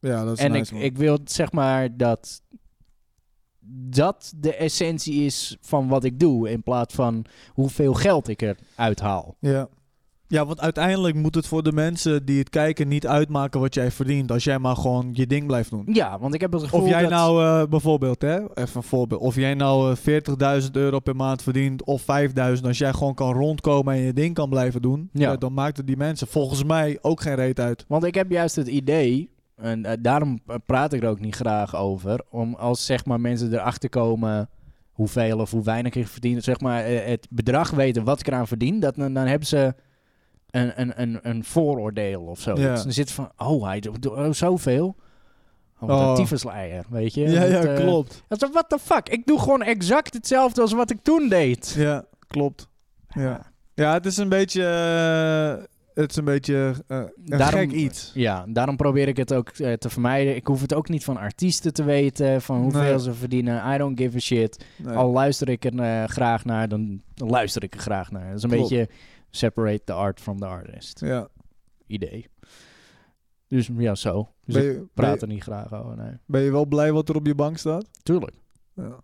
Speaker 2: Ja, dat is
Speaker 1: En
Speaker 2: nice,
Speaker 1: ik,
Speaker 2: man.
Speaker 1: ik wil zeg maar dat dat de essentie is van wat ik doe. In plaats van hoeveel geld ik eruit haal.
Speaker 2: Ja. Ja, want uiteindelijk moet het voor de mensen die het kijken niet uitmaken wat jij verdient. Als jij maar gewoon je ding blijft doen.
Speaker 1: Ja, want ik heb het gevoel
Speaker 2: Of jij
Speaker 1: dat...
Speaker 2: nou eh, bijvoorbeeld, hè, even een voorbeeld. Of jij nou eh, 40.000 euro per maand verdient of 5.000. Als jij gewoon kan rondkomen en je ding kan blijven doen.
Speaker 1: Ja.
Speaker 2: Ja. dan maakt het die mensen volgens mij ook geen reet uit.
Speaker 1: Want ik heb juist het idee, en eh, daarom eh, praat ik er ook niet graag over, om als zeg maar mensen erachter komen hoeveel of hoe weinig ik verdien, zeg maar eh, het bedrag weten wat ik eraan verdien, dat, dan, dan hebben ze een, een, een, een vooroordeel of zo.
Speaker 2: Ja.
Speaker 1: Dus dan zit van, oh hij doet oh, zoveel. Oh, wat
Speaker 2: Oh.
Speaker 1: een tyfusleier, weet je.
Speaker 2: Ja, ja,
Speaker 1: Dat, eh,
Speaker 2: klopt.
Speaker 1: dat is- what the fuck, ik doe gewoon exact hetzelfde als wat ik toen deed.
Speaker 2: Ja, klopt. Ja, ja het is een beetje. eh, het is een beetje. eh, een
Speaker 1: Daarom-
Speaker 2: gek iets.
Speaker 1: Ja, daarom probeer ik het ook eh, te vermijden. Ik hoef het ook niet van artiesten te weten, van hoeveel
Speaker 2: Nee.
Speaker 1: ze verdienen. I don't give a shit.
Speaker 2: Nee.
Speaker 1: Al luister ik er eh, graag naar, dan dan luister ik er graag naar. Dat is een
Speaker 2: Klopt.
Speaker 1: beetje separate the art from the artist
Speaker 2: Ja.
Speaker 1: idee. Dus ja, zo. Dus
Speaker 2: Ben
Speaker 1: ik
Speaker 2: je, ben,
Speaker 1: praat
Speaker 2: je,
Speaker 1: er niet graag over, nee.
Speaker 2: ben je wel blij wat er op je bank staat?
Speaker 1: Tuurlijk.
Speaker 2: Ja.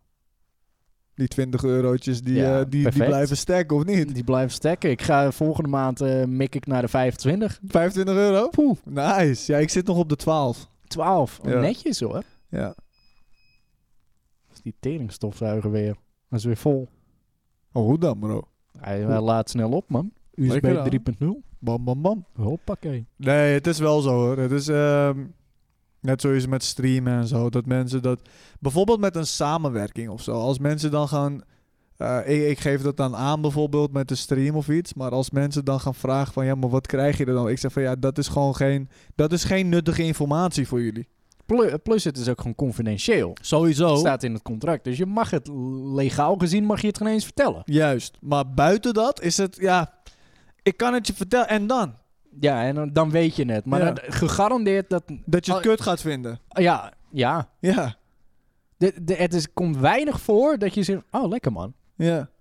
Speaker 2: Die 20 eurotjes die,
Speaker 1: Ja,
Speaker 2: eh, die, die
Speaker 1: perfect.
Speaker 2: blijven stacken, of niet?
Speaker 1: Die blijven stekken. Ik ga volgende maand eh, mik ik naar de 25.
Speaker 2: 25 euro?
Speaker 1: Poeh,
Speaker 2: Nice. Ja, ik zit nog op de 12.
Speaker 1: 12.
Speaker 2: Ja.
Speaker 1: Netjes hoor.
Speaker 2: Ja.
Speaker 1: Dat is die teringstofzuiger weer. Dat is weer vol.
Speaker 2: Oh, hoe dan, bro?
Speaker 1: Hij, hij laat snel op, man.
Speaker 2: Lekker aan.
Speaker 1: USB 3.0.
Speaker 2: Bam, bam, bam.
Speaker 1: Hoppakee.
Speaker 2: Nee, het is wel zo hoor. Het is ehm, net zoiets met streamen en zo. Dat mensen dat. Bijvoorbeeld met een samenwerking of zo. Als mensen dan gaan. eh, ik, ik geef dat dan aan bijvoorbeeld met een stream of iets. Maar als mensen dan gaan vragen van ja, maar wat krijg je er dan? Ik zeg van ja, dat is gewoon geen. Dat is geen nuttige informatie voor jullie.
Speaker 1: Plu- Plus het is ook gewoon confidentieel.
Speaker 2: Sowieso.
Speaker 1: Het staat in het contract. Dus je mag het legaal gezien, mag je het geen eens vertellen.
Speaker 2: Juist. Maar buiten dat is het ja. Ik kan het je vertellen. En dan?
Speaker 1: Ja, en dan- dan weet je het. Maar
Speaker 2: Ja.
Speaker 1: dan- gegarandeerd dat...
Speaker 2: Dat je
Speaker 1: Oh.
Speaker 2: het kut gaat vinden.
Speaker 1: Ja, ja.
Speaker 2: Ja.
Speaker 1: De, de, het is, komt weinig voor dat je zegt, oh lekker man.
Speaker 2: Ja.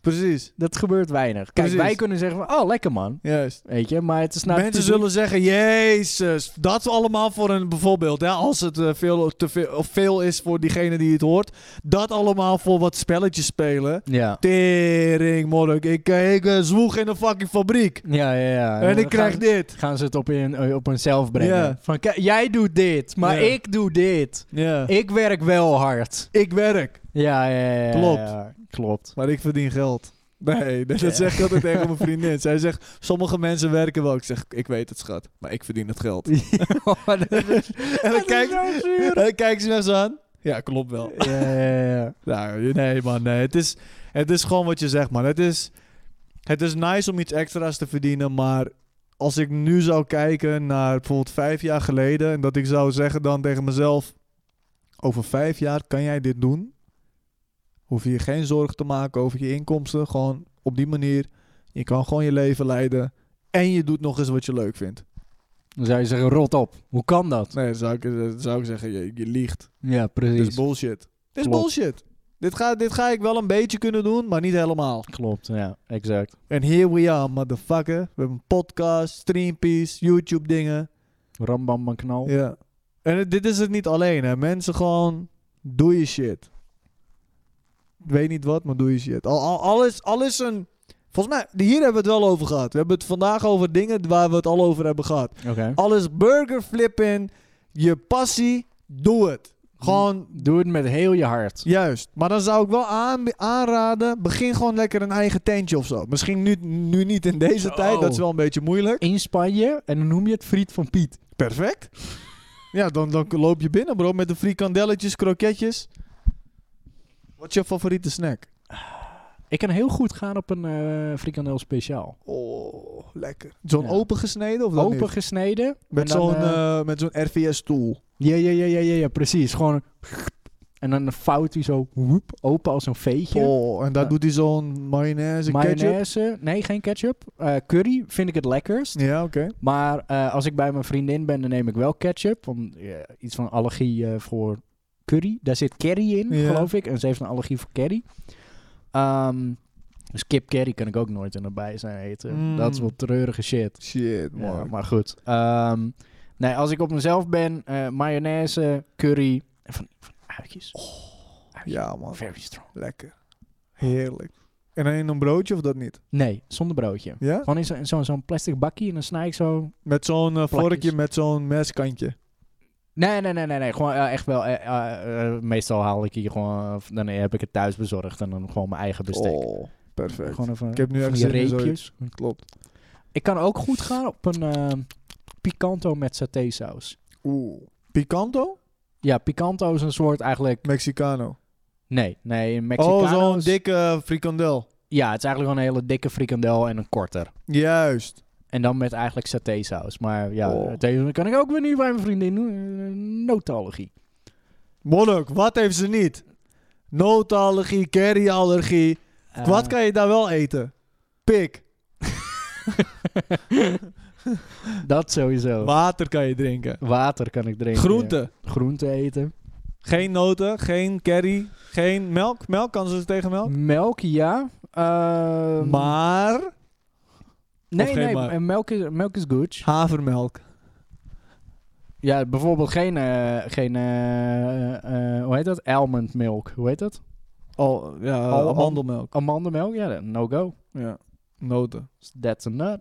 Speaker 2: Precies.
Speaker 1: Dat gebeurt weinig. Kijk,
Speaker 2: Precies.
Speaker 1: wij kunnen zeggen van, oh lekker man.
Speaker 2: Juist.
Speaker 1: Weet je, maar het is nou...
Speaker 2: Mensen zullen zeggen, jezus, dat allemaal voor een bijvoorbeeld, hè, als het eh, veel, te veel, of veel is voor diegene die het hoort, dat allemaal voor wat spelletjes spelen.
Speaker 1: Ja.
Speaker 2: Tering, mork, ik, eh, ik eh, zwoeg in een fucking fabriek
Speaker 1: Ja, ja, ja.
Speaker 2: en ik
Speaker 1: Dan
Speaker 2: krijg
Speaker 1: gaan,
Speaker 2: dit.
Speaker 1: Gaan ze het op een, eh, op een zelf brengen.
Speaker 2: Ja.
Speaker 1: Van, kijk, jij doet dit, maar
Speaker 2: Ja.
Speaker 1: ik doe dit.
Speaker 2: Ja. Ik,
Speaker 1: Ik werk wel hard.
Speaker 2: werk,
Speaker 1: Ja, ja, ja. ja,
Speaker 2: Klopt.
Speaker 1: ja. Klopt.
Speaker 2: maar ik verdien geld. Nee, dat
Speaker 1: Ja.
Speaker 2: dat zeg ik altijd tegen mijn vriendin. Zij zegt, sommige mensen werken wel. Ik zeg, ik weet het schat, maar ik verdien het geld. en dan kijkt, en dan kijkt ze me zo aan. Ja, klopt wel.
Speaker 1: Ja, ja, ja.
Speaker 2: Nou, nee man, nee. Het is, Het is gewoon wat je zegt, man. Het is, het is nice om iets extra's te verdienen, maar als ik nu zou kijken naar bijvoorbeeld vijf jaar geleden en dat ik zou zeggen dan tegen mezelf, over vijf jaar kan jij dit doen, hoef je je geen zorgen te maken over je inkomsten, gewoon op die manier. Je kan gewoon je leven leiden en je doet nog eens wat je leuk vindt.
Speaker 1: Dan zou je zeggen, rot op. Hoe kan dat?
Speaker 2: Nee, dan zou ik, dan zou ik zeggen, je, je liegt.
Speaker 1: Ja,
Speaker 2: Dit
Speaker 1: precies.
Speaker 2: is bullshit. Dit is
Speaker 1: Klopt.
Speaker 2: bullshit. Dit ga, dit ga ik wel een beetje kunnen doen, maar niet helemaal.
Speaker 1: Klopt, ja, exact.
Speaker 2: En here we are, motherfucker. We hebben een podcast, streampiece, YouTube dingen.
Speaker 1: Rambam van knal.
Speaker 2: Ja. En het- dit is het niet alleen, hè. Mensen gewoon, doe je shit. Ik weet niet wat, maar doe je shit. Al, al, al, is, al is een... Volgens mij, hier hebben we het wel over gehad. We hebben het vandaag over dingen waar we het al over hebben gehad.
Speaker 1: Oké.
Speaker 2: Alles burger flippen, je passie, doe het. Gewoon
Speaker 1: Doe het met heel je hart.
Speaker 2: Juist. Maar dan zou ik wel aan- aanraden, begin gewoon lekker een eigen tentje of zo. Misschien nu, nu niet in deze
Speaker 1: Zo.
Speaker 2: tijd, dat is wel een beetje moeilijk.
Speaker 1: In Spanje, en dan noem je het friet van Piet.
Speaker 2: Perfect. Ja, dan, dan loop je binnen bro, met de frikandelletjes, kroketjes. Wat is je favoriete snack?
Speaker 1: Ik kan heel goed gaan op een eh frikandel speciaal.
Speaker 2: Oh, lekker. Zo'n
Speaker 1: Ja.
Speaker 2: opengesneden of dan
Speaker 1: Open
Speaker 2: niet?
Speaker 1: gesneden.
Speaker 2: Met
Speaker 1: en dan,
Speaker 2: zo'n
Speaker 1: eh,
Speaker 2: eh, met zo'n RVS-stoel.
Speaker 1: Ja, ja, ja, ja, ja, ja, precies. Gewoon... En dan vouwt hij zo woep, open als een veetje.
Speaker 2: Oh, en daar
Speaker 1: Ja.
Speaker 2: doet hij zo'n mayonaise, ketchup.
Speaker 1: Mayonaise. Nee, geen ketchup. Eh, curry vind ik het lekkerst.
Speaker 2: Ja, oké.
Speaker 1: Maar eh, als ik bij mijn vriendin ben, dan neem ik wel ketchup. Want eh, iets van allergie eh, voor curry. Daar zit curry in,
Speaker 2: Ja.
Speaker 1: geloof ik. En ze heeft een allergie voor curry. Ehm, dus kip curry kan ik ook nooit in de bijzijn eten.
Speaker 2: Mm.
Speaker 1: Dat is wel treurige shit.
Speaker 2: Shit,
Speaker 1: Ja,
Speaker 2: man.
Speaker 1: maar goed. Ehm, nee, als ik op mezelf ben, eh, mayonaise, curry. En van, van uitjes.
Speaker 2: Oh, Ja, man.
Speaker 1: Very strong.
Speaker 2: Lekker. Heerlijk. En dan in een broodje of dat niet?
Speaker 1: Nee, zonder broodje.
Speaker 2: Ja?
Speaker 1: Gewoon in zo- in zo'n zo'n plastic bakkie en dan snij ik zo
Speaker 2: Met zo'n eh,
Speaker 1: Plakjes.
Speaker 2: vorkje met zo'n meskantje.
Speaker 1: Nee, nee, nee, nee, nee. Gewoon eh, echt wel. eh, eh, eh, meestal haal ik hier gewoon. of dan heb ik het thuis bezorgd en dan gewoon mijn eigen bestek.
Speaker 2: Oh, perfect.
Speaker 1: Gewoon even.
Speaker 2: Ik heb nu
Speaker 1: van
Speaker 2: echt
Speaker 1: die
Speaker 2: zin in zoiets.
Speaker 1: reepjes.
Speaker 2: Klopt.
Speaker 1: Ik kan ook goed gaan op een eh, picanto met satésaus.
Speaker 2: Oeh. Picanto?
Speaker 1: Ja, picanto is een soort eigenlijk.
Speaker 2: Mexicano.
Speaker 1: Nee, nee, in Mexicano.
Speaker 2: Oh, zo'n
Speaker 1: is-
Speaker 2: dikke frikandel.
Speaker 1: Ja, het is eigenlijk gewoon een hele dikke frikandel en een korter.
Speaker 2: Juist.
Speaker 1: En dan met eigenlijk satésaus. Maar ja,
Speaker 2: Oh.
Speaker 1: dat kan ik ook weer nu bij mijn vriendin doen. Eh, Notenallergie.
Speaker 2: Monnik, wat heeft ze niet? Notallergie, kerryallergie.
Speaker 1: Eh,
Speaker 2: wat kan je daar wel eten? Pik.
Speaker 1: Dat sowieso.
Speaker 2: Water kan je drinken.
Speaker 1: Water kan ik drinken.
Speaker 2: Groenten.
Speaker 1: Groente eten.
Speaker 2: Geen noten, geen curry, geen melk. Melk kan ze tegen
Speaker 1: Oh.
Speaker 2: melk.
Speaker 1: Melk, ja. Ehm,
Speaker 2: Maar
Speaker 1: Nee,
Speaker 2: geen
Speaker 1: nee,
Speaker 2: maar?
Speaker 1: eh, melk is, melk is good.
Speaker 2: havermelk.
Speaker 1: Ja, bijvoorbeeld geen, eh, geen eh, eh, hoe heet dat? Almond milk, hoe heet dat?
Speaker 2: Al, ja,
Speaker 1: Al-
Speaker 2: amandelmelk.
Speaker 1: Oh, Amandelmelk, ja, no go.
Speaker 2: Ja. Noten.
Speaker 1: That's a nut.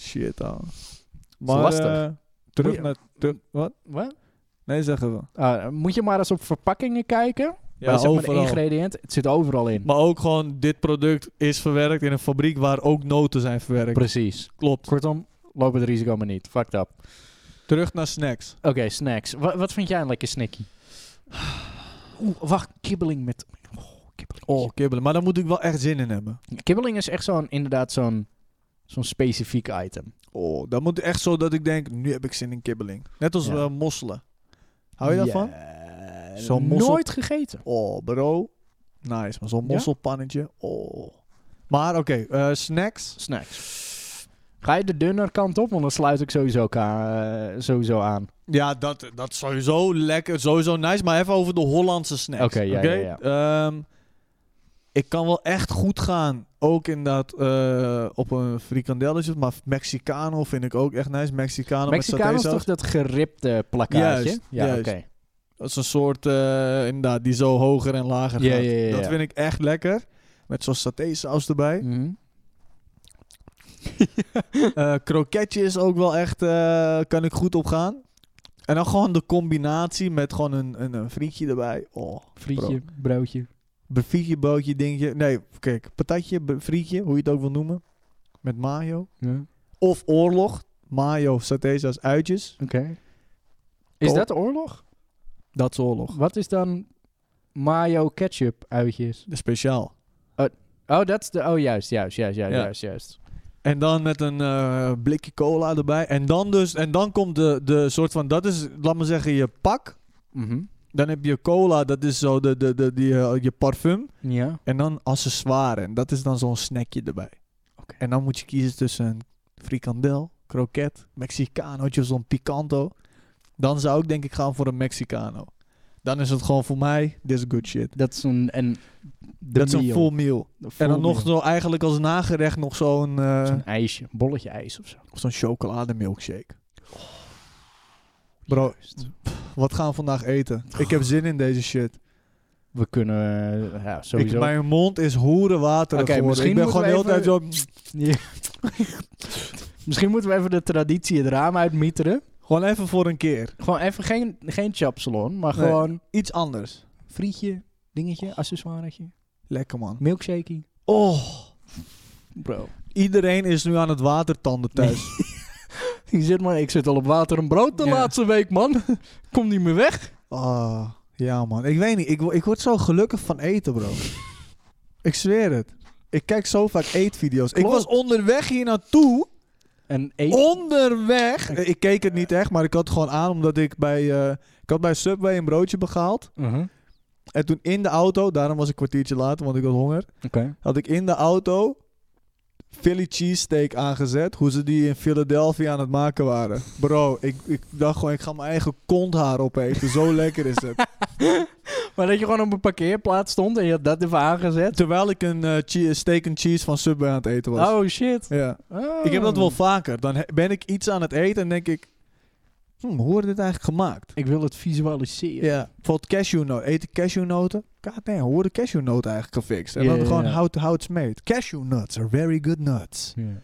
Speaker 2: Shit, ouwe.
Speaker 1: lastig.
Speaker 2: eh,
Speaker 1: Moet
Speaker 2: terug
Speaker 1: je-
Speaker 2: naar... Terug, wat?
Speaker 1: Wat?
Speaker 2: Nee, zeggen we.
Speaker 1: Ah, moet je maar eens op verpakkingen kijken. Bij, zeg maar, de ingrediënten, het zit overal in.
Speaker 2: Maar ook gewoon, dit product is verwerkt in een fabriek waar ook noten zijn verwerkt.
Speaker 1: Precies.
Speaker 2: Klopt.
Speaker 1: Kortom, loop het risico maar niet. Fucked up.
Speaker 2: Terug naar snacks.
Speaker 1: Oké, snacks. Wa- wat vind jij een lekker snackie? Oeh, wacht, kibbeling met... Oh, kibbeling.
Speaker 2: Oh, kibbelen. Maar daar moet ik wel echt zin in hebben.
Speaker 1: Kibbeling is echt zo'n, inderdaad zo'n zo'n specifiek item.
Speaker 2: Oh, dat moet echt zo dat ik denk, nu heb ik zin in kibbeling. Net als
Speaker 1: Ja.
Speaker 2: eh, mosselen. Hou je
Speaker 1: Ja,
Speaker 2: daarvan? Zo'n mossel-
Speaker 1: Nooit gegeten.
Speaker 2: Oh, bro. Nice, maar zo'n
Speaker 1: Ja?
Speaker 2: mosselpannetje. Oh. Maar oké, eh, snacks.
Speaker 1: Snacks. Ga je de dunner kant op, want dan sluit ik sowieso, ka- eh, sowieso aan.
Speaker 2: Ja, dat, dat is sowieso lekker, sowieso nice. Maar even over de Hollandse snacks.
Speaker 1: Oké, ja,
Speaker 2: oké?
Speaker 1: ja,
Speaker 2: Ehm, ik kan wel echt goed gaan, ook inderdaad eh, op een frikandelletje. Maar Mexicano vind ik ook echt nice. Mexicano,
Speaker 1: Mexicaan
Speaker 2: met
Speaker 1: is
Speaker 2: satésaus.
Speaker 1: toch dat geripte plakkaatje?
Speaker 2: Juist,
Speaker 1: ja,
Speaker 2: juist.
Speaker 1: oké.
Speaker 2: Dat is een soort, eh, inderdaad, die zo hoger en lager
Speaker 1: Ja,
Speaker 2: gaat.
Speaker 1: ja, ja,
Speaker 2: Dat
Speaker 1: ja.
Speaker 2: vind ik echt lekker. Met zo'n satésaus erbij.
Speaker 1: Mhm.
Speaker 2: Eh kroketje is ook wel echt, eh, kan ik goed op gaan. En dan gewoon de combinatie met gewoon een, een, een frietje erbij. Oh.
Speaker 1: Frietje, broodje.
Speaker 2: Bevietje, bootje, dingetje. Nee, kijk, patatje, be- frietje, hoe je het ook wil noemen. Met mayo.
Speaker 1: Ja.
Speaker 2: Of oorlog. Mayo, satésaus, uitjes.
Speaker 1: Oké. Is
Speaker 2: Oh.
Speaker 1: dat oorlog?
Speaker 2: Dat is oorlog.
Speaker 1: Wat is dan mayo ketchup uitjes?
Speaker 2: Speciaal.
Speaker 1: Oké, Oh, dat is de... Oh, juist, juist, juist, juist,
Speaker 2: Ja.
Speaker 1: juist, juist.
Speaker 2: En dan met een eh, blikje cola erbij. En dan, dus, en dan komt de, de soort van, dat is, laat maar zeggen, je pak.
Speaker 1: Mhm.
Speaker 2: Dan heb je cola, dat is zo de, de, de, die, eh, je parfum.
Speaker 1: Ja.
Speaker 2: En dan accessoire. En dat is dan zo'n snackje erbij.
Speaker 1: Oké.
Speaker 2: En dan moet je kiezen tussen een frikandel, kroket, Mexicanootje of zo'n picanto. Dan zou ik denk ik gaan voor een Mexicano. Dan is het gewoon voor mij, this good shit.
Speaker 1: Dat is een... En de
Speaker 2: dat is een
Speaker 1: meal.
Speaker 2: full meal.
Speaker 1: Een full
Speaker 2: en dan nog
Speaker 1: meal.
Speaker 2: zo eigenlijk als nagerecht nog zo'n eh,
Speaker 1: Zo'n ijsje. Een bolletje ijs of zo.
Speaker 2: of zo'n chocolademilkshake.
Speaker 1: Oh.
Speaker 2: Bro,
Speaker 1: Juist.
Speaker 2: wat gaan we vandaag eten? Ik heb zin in deze shit.
Speaker 1: We kunnen... eh, ja,
Speaker 2: Ik,
Speaker 1: sowieso...
Speaker 2: mijn mond is hoerenwater
Speaker 1: Oké,
Speaker 2: geworden. Ik
Speaker 1: misschien
Speaker 2: ben
Speaker 1: moeten
Speaker 2: gewoon de hele
Speaker 1: we
Speaker 2: tijd zo...
Speaker 1: Ja. Misschien moeten we even de traditie het raam uitmieteren.
Speaker 2: Gewoon even voor een keer.
Speaker 1: Gewoon even geen, geen chapsalon, maar
Speaker 2: Nee.
Speaker 1: gewoon
Speaker 2: iets anders.
Speaker 1: frietje, dingetje, accessoiretje,
Speaker 2: Lekker man.
Speaker 1: milkshakey.
Speaker 2: Oh,
Speaker 1: Bro.
Speaker 2: iedereen is nu aan het watertanden thuis.
Speaker 1: Je zit maar, ik zit al op water en brood de
Speaker 2: Ja.
Speaker 1: laatste week, man. Kom niet meer weg.
Speaker 2: Ah, ja man. Ik weet niet, ik, wo- ik word zo gelukkig van eten bro. ik zweer het. Ik kijk zo vaak eetvideo's. Ik
Speaker 1: Klopt.
Speaker 2: was onderweg hier naartoe.
Speaker 1: En eet.
Speaker 2: Oh. Onderweg! Eh, Ik keek het niet echt, maar ik had het gewoon aan omdat ik bij, eh, ik had bij Subway een broodje behaald.
Speaker 1: Mhm.
Speaker 2: En toen in de auto, daarom was ik een kwartiertje later, want ik had honger.
Speaker 1: Oké.
Speaker 2: had ik in de auto Philly cheesesteak aangezet. Hoe ze die in Philadelphia aan het maken waren. Bro, ik, ik dacht gewoon, ik ga mijn eigen konthaar opeten. Zo lekker is het.
Speaker 1: Maar dat je gewoon op een parkeerplaats stond en je had dat even aangezet.
Speaker 2: Terwijl ik een eh, chee- steak and cheese van Subway aan het eten was.
Speaker 1: Oh shit.
Speaker 2: Ja.
Speaker 1: Oh.
Speaker 2: Ik heb dat wel vaker. Dan he- ben ik iets aan het eten en denk ik... "Hmm, hoe wordt dit eigenlijk gemaakt?
Speaker 1: Ik wil het visualiseren.
Speaker 2: Ja. Bijvoorbeeld cashewnoten. Eten cashewnoten? God damn, hoe worden cashewnoten eigenlijk gefixt? En
Speaker 1: Ja,
Speaker 2: dan
Speaker 1: ja,
Speaker 2: gewoon
Speaker 1: ja.
Speaker 2: how, how it's made. Cashewnuts are very good nuts.
Speaker 1: Ja.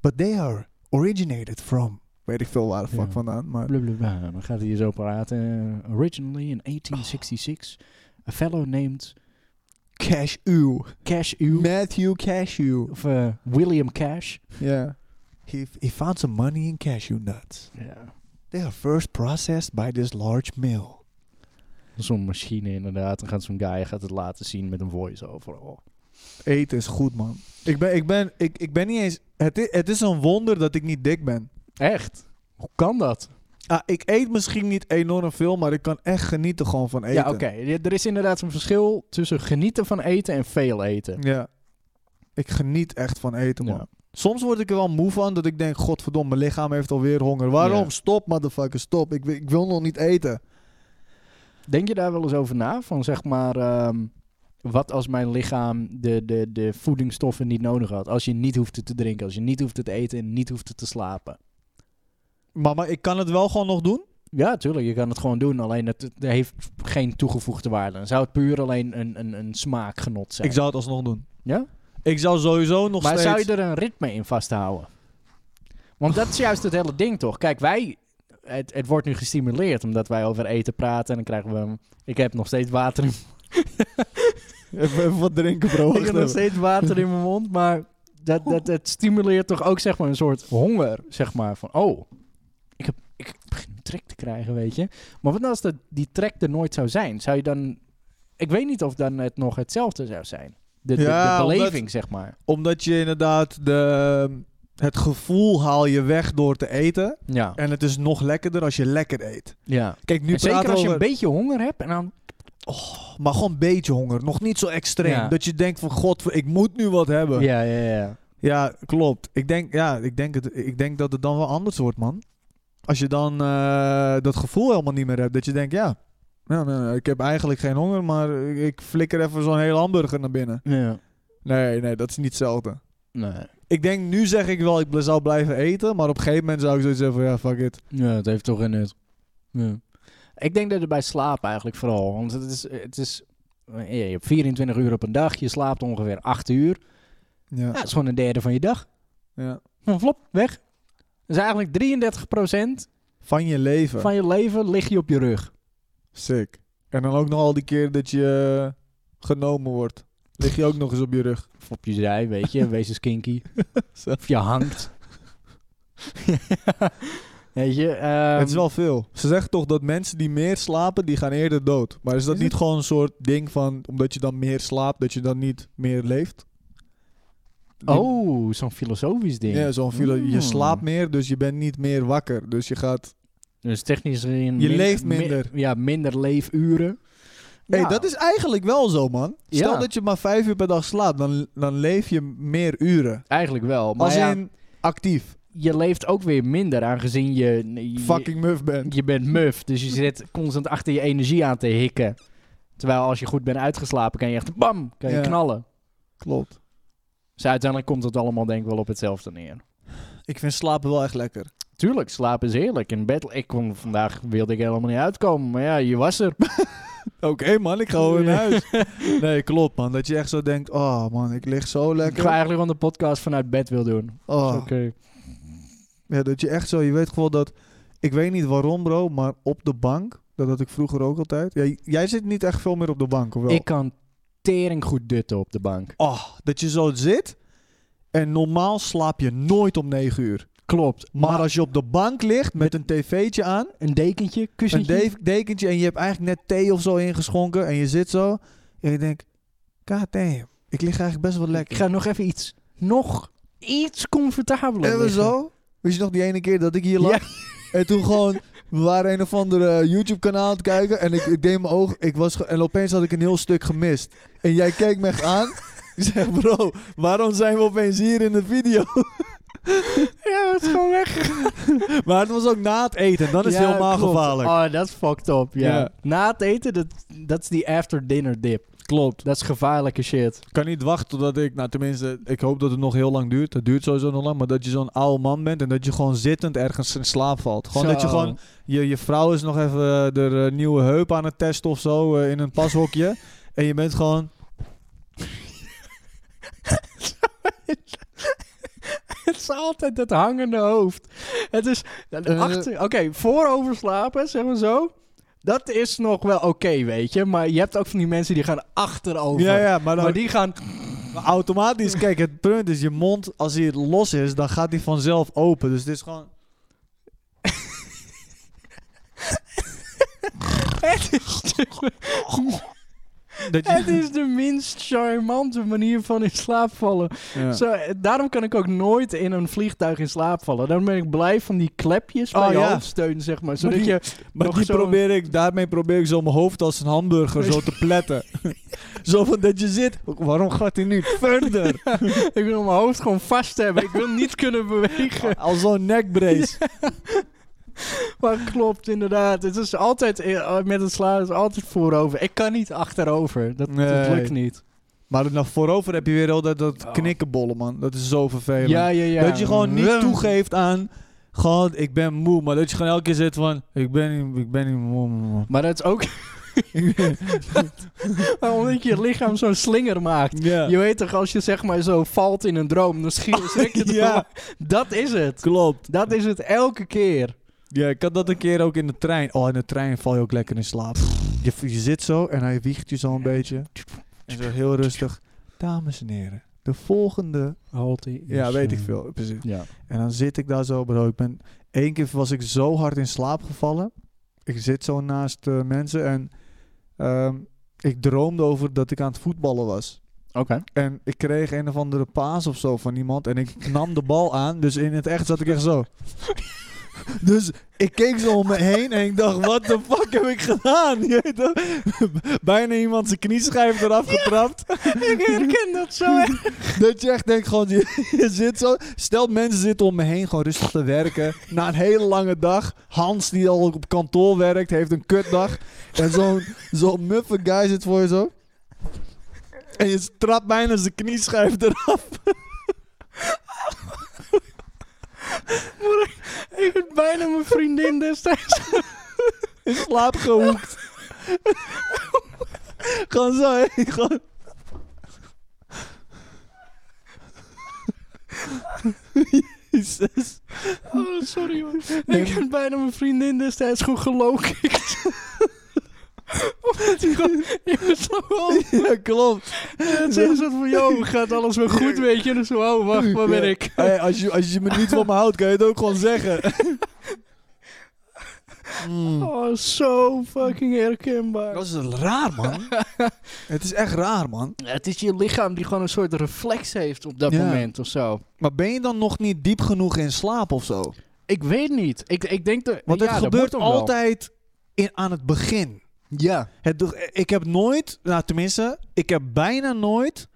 Speaker 2: But they are originated from. Weet ik veel waar de fuck
Speaker 1: Ja.
Speaker 2: vandaan. Maar
Speaker 1: Blablabla. Dan gaat hij zo praten. Eh, originally in 1866, a fellow named
Speaker 2: Cash U.
Speaker 1: Cash U.
Speaker 2: Matthew Cash U.
Speaker 1: Of eh, William Cash.
Speaker 2: Yeah. He, he found some money in cashew nuts.
Speaker 1: Ja.
Speaker 2: They are first processed by this large mill.
Speaker 1: Zo'n machine inderdaad. Dan gaat zo'n guy gaat het laten zien met een voice-over. Oh.
Speaker 2: Eten is goed, man. Ik ben, ik ben, ik, ik ben niet eens... Het is, het is een wonder dat ik niet dik ben.
Speaker 1: Echt? Hoe kan dat?
Speaker 2: Ah, ik eet misschien niet enorm veel, maar ik kan echt genieten gewoon van eten.
Speaker 1: Ja, oké. Ja, Er is inderdaad een verschil tussen genieten van eten en veel eten.
Speaker 2: Ja. Ik geniet echt van eten, man.
Speaker 1: Ja.
Speaker 2: Soms word ik er wel moe van dat ik denk: Godverdomme, mijn lichaam heeft alweer honger. Waarom?
Speaker 1: Ja.
Speaker 2: Stop, motherfucker, stop. Ik, wi- ik wil nog niet eten.
Speaker 1: Denk je daar wel eens over na? Van zeg maar, ehm, wat als mijn lichaam de, de, de voedingsstoffen niet nodig had? Als je niet hoeft te drinken, als je niet hoeft te eten en niet hoeft te slapen.
Speaker 2: Maar, maar ik kan het wel gewoon nog doen.
Speaker 1: Ja, tuurlijk. Je kan het gewoon doen. Alleen het, het heeft geen toegevoegde waarde. Dan zou het puur alleen een, een, een smaakgenot zijn.
Speaker 2: Ik zou het alsnog doen.
Speaker 1: Ja?
Speaker 2: Ik zou sowieso nog
Speaker 1: maar
Speaker 2: steeds.
Speaker 1: zou je er een ritme in vasthouden? Want dat is juist het hele ding, toch? Kijk, wij... Het, het wordt nu gestimuleerd omdat wij over eten praten. En dan krijgen we... een- Ik heb nog steeds water in,
Speaker 2: Even, even wat drinken, bro.
Speaker 1: ik
Speaker 2: Wacht
Speaker 1: heb nog
Speaker 2: even.
Speaker 1: steeds water in mijn mond. Maar dat, dat, het stimuleert toch ook zeg maar, een soort honger. Zeg maar van... Oh, ik, heb, ik begin een trek te krijgen, weet je. Maar wat nou als dat, die trek er nooit zou zijn? Zou je dan... Ik weet niet of dan het nog hetzelfde zou zijn. De, de,
Speaker 2: Ja,
Speaker 1: de
Speaker 2: omdat-
Speaker 1: beleving, zeg maar.
Speaker 2: Omdat je inderdaad de, het gevoel haal je weg door te eten.
Speaker 1: Ja.
Speaker 2: En het is nog lekkerder als je lekker eet.
Speaker 1: ja.
Speaker 2: Kijk, nu
Speaker 1: En
Speaker 2: praten
Speaker 1: zeker
Speaker 2: we
Speaker 1: als je
Speaker 2: over-
Speaker 1: een beetje honger hebt en dan...
Speaker 2: Maar gewoon een beetje honger. Nog niet zo extreem.
Speaker 1: Ja.
Speaker 2: Dat je denkt van, god, ik moet nu wat hebben.
Speaker 1: Ja, ja, ja.
Speaker 2: Ja, klopt. Ik denk, ja, ik, denk het, ik denk dat het dan wel anders wordt, man. Als je dan eh, dat gevoel helemaal niet meer hebt. Dat je denkt, ja, nou, nou, nou, ik heb eigenlijk geen honger, maar ik, ik flikker even zo'n hele hamburger naar binnen.
Speaker 1: Ja.
Speaker 2: Nee, nee, dat is niet hetzelfde.
Speaker 1: Nee.
Speaker 2: Ik denk, nu zeg ik wel, ik bl- zou blijven eten. Maar op een gegeven moment zou ik zoiets zeggen van, ja, fuck it.
Speaker 1: Ja, het heeft toch geen nut. Ja. Ik denk dat het bij slaap eigenlijk vooral. Want het is, het is, ja, je hebt 24 uur op een dag. Je slaapt ongeveer 8 uur.
Speaker 2: Ja,
Speaker 1: Ja, dat is gewoon een derde van je dag.
Speaker 2: ja.
Speaker 1: Van flop, weg. Dus eigenlijk 33%
Speaker 2: Van je leven.
Speaker 1: van je leven lig je op je rug.
Speaker 2: Sick. En dan ook nog al die keer dat je eh, genomen wordt. Lig je ook nog eens op je rug.
Speaker 1: Of op je zij, weet je. Wees eens kinky.
Speaker 2: Zo.
Speaker 1: of je hangt. weet je. ehm,
Speaker 2: het is wel veel. Ze zeggen toch dat mensen die meer slapen, die gaan eerder dood. Maar is dat
Speaker 1: Is
Speaker 2: niet
Speaker 1: het?
Speaker 2: gewoon een soort ding van, omdat je dan meer slaapt, dat je dan niet meer leeft? Die-
Speaker 1: Oh, zo'n filosofisch ding.
Speaker 2: Ja, zo'n filo-
Speaker 1: Mm.
Speaker 2: Je slaapt meer, dus je bent niet meer wakker. Dus je gaat...
Speaker 1: Dus technisch gezien...
Speaker 2: Je
Speaker 1: min-
Speaker 2: leeft
Speaker 1: mi-
Speaker 2: minder.
Speaker 1: ja, minder leefuren.
Speaker 2: Hé,
Speaker 1: Ja.
Speaker 2: dat is eigenlijk wel zo, man. Stel
Speaker 1: Ja.
Speaker 2: dat je maar vijf uur per dag slaapt, dan, dan leef je meer uren.
Speaker 1: Eigenlijk wel. Maar
Speaker 2: Als
Speaker 1: ja,
Speaker 2: in actief.
Speaker 1: je leeft ook weer minder, aangezien je... je
Speaker 2: Fucking muf bent.
Speaker 1: Je bent muf, dus je zit constant achter je energie aan te hikken. Terwijl als je goed bent uitgeslapen, kan je echt bam, kan je
Speaker 2: Ja.
Speaker 1: knallen.
Speaker 2: Klopt.
Speaker 1: Dus uiteindelijk komt het allemaal denk ik wel op hetzelfde neer.
Speaker 2: Ik vind slapen wel echt lekker.
Speaker 1: Tuurlijk, slapen is heerlijk. In bed, ik kon vandaag, wilde ik helemaal niet uitkomen. Maar ja, je was er.
Speaker 2: Oké man, ik ga gewoon naar huis. Nee, klopt man. Dat je echt zo denkt, oh man, ik lig zo
Speaker 1: Ik ga
Speaker 2: lekker.
Speaker 1: eigenlijk gewoon de podcast vanuit bed wil doen.
Speaker 2: Oh.
Speaker 1: Oké.
Speaker 2: Ja, dat je echt zo, je weet gewoon dat, ik weet niet waarom bro, maar op de bank, dat had ik vroeger ook altijd. Jij, jij zit niet echt veel meer op de bank, of wel?
Speaker 1: Ik kan tering goed dutten op de bank.
Speaker 2: Oh, dat je zo zit en normaal slaap je nooit om negen uur.
Speaker 1: Klopt.
Speaker 2: Maar, als je op de bank ligt met een tv'tje aan,
Speaker 1: Een dekentje,
Speaker 2: een
Speaker 1: kussentje.
Speaker 2: def- dekentje en je hebt eigenlijk net thee of zo ingeschonken en je zit zo en je denkt, god damn, ik lig eigenlijk best wel lekker.
Speaker 1: Ik ga nog even iets, nog iets comfortabeler
Speaker 2: En we
Speaker 1: liggen.
Speaker 2: zo. Weet je nog die ene keer dat ik hier lag? En toen gewoon, we waren een of andere YouTube-kanaal aan het kijken. En ik, ik deed mijn oog, ik was ge- en opeens had ik een heel stuk gemist. En jij keek me echt aan. Ik zeg, bro, waarom zijn we opeens hier in de video?
Speaker 1: Ja, dat is gewoon weg.
Speaker 2: Maar het was ook na het eten, dan is
Speaker 1: Ja,
Speaker 2: het helemaal
Speaker 1: klopt.
Speaker 2: gevaarlijk.
Speaker 1: Oh, dat is fucked up, ja.
Speaker 2: Ja.
Speaker 1: Na het eten, dat, dat is die after dinner dip.
Speaker 2: Klopt.
Speaker 1: Dat is gevaarlijke shit.
Speaker 2: Ik kan niet wachten totdat ik, nou tenminste, ik hoop dat het nog heel lang duurt. Dat duurt sowieso nog lang, maar dat je zo'n oude man bent en dat je gewoon zittend ergens in slaap valt. Gewoon dat je
Speaker 1: Zo.
Speaker 2: gewoon Je, je vrouw is nog even eh, de eh, nieuwe heup aan het testen of zo eh, in een pashokje. en je bent gewoon.
Speaker 1: Het is altijd dat hangende hoofd. Het is
Speaker 2: Eh.
Speaker 1: achter. Oké, voorover slapen, zeg maar zo. Dat is nog wel oké, weet je. Maar je hebt ook van die mensen die gaan achterover.
Speaker 2: Ja, nou- ja, maar, dan,
Speaker 1: Maar die gaan.
Speaker 2: automatisch. Kijk, het punt is: je mond, als hij het los is, dan gaat hij vanzelf open. Dus het is gewoon.
Speaker 1: Het is, de,
Speaker 2: Dat je,
Speaker 1: het is de minst charmante manier van in slaap vallen.
Speaker 2: Ja.
Speaker 1: Zo, eh, daarom kan ik ook nooit in een vliegtuig in slaap vallen. Daarom ben ik blij van die klepjes bij
Speaker 2: Oh,
Speaker 1: je
Speaker 2: ja.
Speaker 1: hoofdsteun, zeg maar. Zodat
Speaker 2: die-
Speaker 1: je
Speaker 2: maar
Speaker 1: nog
Speaker 2: die
Speaker 1: zo'n-
Speaker 2: probeer ik, daarmee probeer ik zo mijn hoofd als een hamburger zo te pletten. zo van dat je zit. Waarom gaat hij nu verder?
Speaker 1: Ik wil mijn hoofd gewoon vast hebben. Ik wil niet kunnen bewegen.
Speaker 2: Als zo'n nekbrace.
Speaker 1: Maar klopt, inderdaad. Het is altijd eh, met het slaan is altijd voorover. Ik kan niet achterover. Dat, dat
Speaker 2: Nee.
Speaker 1: lukt niet.
Speaker 2: Maar dan voorover heb je weer al dat, dat
Speaker 1: Oh.
Speaker 2: knikkenbollen, man. Dat is zo vervelend.
Speaker 1: Ja, ja, ja.
Speaker 2: Dat je gewoon niet
Speaker 1: Rrr.
Speaker 2: toegeeft aan. Gewoon, ik ben moe. Maar dat je gewoon elke keer zit van. Ik ben niet, ik ben niet moe, man.
Speaker 1: Maar dat is ook maar omdat je je lichaam zo'n slinger maakt.
Speaker 2: Ja,
Speaker 1: Je weet toch, als je zeg maar zo valt in een droom, dan schiet schrik je
Speaker 2: Oh, ja.
Speaker 1: ja. Dat is het.
Speaker 2: klopt.
Speaker 1: Dat is het elke keer.
Speaker 2: Ja, ik had dat een keer ook in de trein. Oh, in de trein val je ook lekker in slaap. Je, je zit zo en hij wiegt je zo een beetje. En zo heel rustig. Dames en heren, de volgende.
Speaker 1: Halte.
Speaker 2: Ja, weet ik veel. Precies.
Speaker 1: Ja.
Speaker 2: En dan zit ik daar zo, bro. Ik ben, één keer was ik zo hard in slaap gevallen. Ik zit zo naast eh, mensen en ehm, ik droomde over dat ik aan het voetballen was.
Speaker 1: Oké.
Speaker 2: En ik kreeg een of andere paas of zo van iemand. En ik nam de bal aan. Dus in het echt zat ik echt zo. Dus ik keek zo om me heen en ik dacht, wat de fuck heb ik gedaan? Je weet toch? Bijna iemand zijn knieschijf eraf getrapt.
Speaker 1: Ik herken dat zo echt.
Speaker 2: Dat je echt denkt, gewoon, je, je zit zo... Stel, mensen zitten om me heen gewoon rustig te werken. Na een hele lange dag. Hans, die al op kantoor werkt, heeft een kutdag. En zo'n zo'n muffe guy zit voor je zo. En je trapt bijna zijn knieschijf eraf.
Speaker 1: Ik heb bijna mijn vriendin destijds.
Speaker 2: In slaap gehoekt. gewoon zo, hè. Gewoon... Jezus.
Speaker 1: Oh, sorry hoor.
Speaker 2: Nee,
Speaker 1: Ik heb bijna mijn vriendin destijds gewoon geloken. Omdat hij gewoon in zo hoog.
Speaker 2: Ja, klopt.
Speaker 1: Het is zo van, joh, gaat alles wel goed, weet je? En dan zo, oh, wacht, waar ben
Speaker 2: Ja.
Speaker 1: ik?
Speaker 2: Hey, als, je, als je me niet van me houdt, kan je het ook gewoon zeggen. Mm.
Speaker 1: Oh, zo fucking herkenbaar.
Speaker 2: Dat is raar, man. het is echt raar, man.
Speaker 1: Het is je lichaam die gewoon een soort reflex heeft op dat
Speaker 2: Ja.
Speaker 1: moment of zo.
Speaker 2: Maar ben je dan nog niet diep genoeg in slaap of zo?
Speaker 1: Ik weet niet. Ik, ik denk dat.
Speaker 2: Want
Speaker 1: ja,
Speaker 2: het
Speaker 1: dat
Speaker 2: gebeurt
Speaker 1: moet ook wel.
Speaker 2: altijd in, aan het begin.
Speaker 1: Ja.
Speaker 2: Het, do- ik heb nooit, nou tenminste, ik heb bijna nooit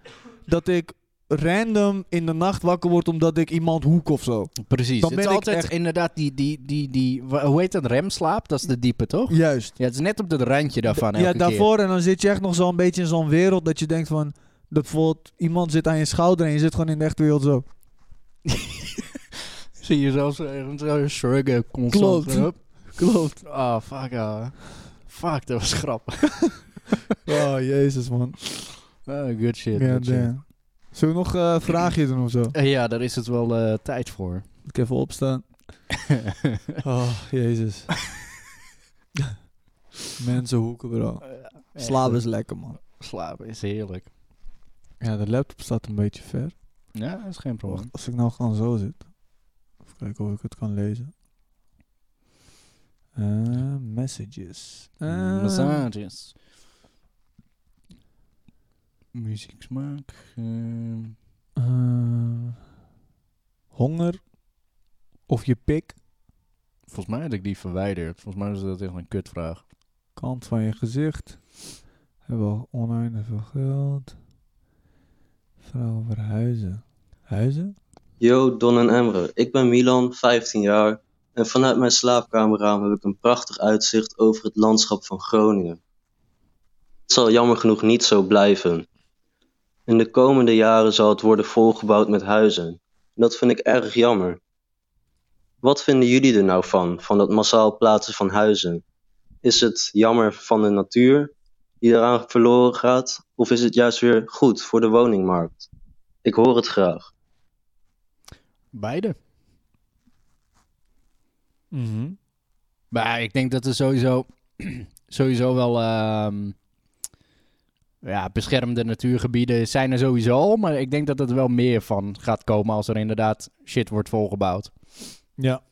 Speaker 2: dat ik random in de nacht wakker word omdat ik iemand hoek of zo.
Speaker 1: Precies.
Speaker 2: Dan
Speaker 1: het is
Speaker 2: ben ik
Speaker 1: altijd
Speaker 2: echt-
Speaker 1: inderdaad die, die, die, die, wa- hoe heet dat, remslaap? Dat is de diepe, toch?
Speaker 2: Juist.
Speaker 1: Ja, het is net op het randje daarvan elke
Speaker 2: ja,
Speaker 1: keer.
Speaker 2: daarvoor en dan zit je echt nog zo'n beetje in zo'n wereld dat je denkt van, dat bijvoorbeeld iemand zit aan je schouder en je zit gewoon in de echte wereld zo.
Speaker 1: Zie je zelfs eh, zo surgen constant.
Speaker 2: Klopt.
Speaker 1: Hup.
Speaker 2: Klopt.
Speaker 1: Oh, fuck, ah. Fuck, dat was grappig.
Speaker 2: Oh, jezus man.
Speaker 1: Ah, good shit,
Speaker 2: Ja,
Speaker 1: good shit.
Speaker 2: damn. Zullen we nog eh, een vraagje doen of zo?
Speaker 1: Eh, ja, daar is het wel eh, tijd voor.
Speaker 2: Moet ik even opstaan. Oh, jezus. Mensen hoeken, bro. Slaap is lekker, man.
Speaker 1: Slapen is heerlijk.
Speaker 2: Ja, de laptop staat een beetje ver.
Speaker 1: Ja, dat is geen probleem.
Speaker 2: Wacht, als ik nou gewoon zo zit. Even kijken of ik het kan lezen. Eh, messages. Eh,
Speaker 1: Massages. Muzieksmaak. ehm.
Speaker 2: eh, honger. Of je pik.
Speaker 1: volgens mij had ik die verwijderd. Volgens mij is dat echt een kutvraag.
Speaker 2: Kant van je gezicht. Hebben al oneindig veel geld. Vrouwen over huizen. Huizen?
Speaker 3: Yo, Don en Emre. Ik ben Milan, 15 jaar. En vanuit mijn slaapkamerraam heb ik een prachtig uitzicht over het landschap van Groningen. Het zal jammer genoeg niet zo blijven. In de komende jaren zal het worden volgebouwd met huizen. En dat vind ik erg jammer. Wat vinden jullie er nou van, van dat massaal plaatsen van huizen? Is het jammer van de natuur die eraan verloren gaat, of is het juist weer goed voor de woningmarkt? Ik hoor het graag.
Speaker 1: Beide.
Speaker 2: Mhm.
Speaker 1: Maar ik denk dat er sowieso, sowieso wel ehm, ja, beschermde natuurgebieden zijn er sowieso al. Maar ik denk dat er wel meer van gaat komen als er inderdaad shit wordt volgebouwd.
Speaker 2: Ja.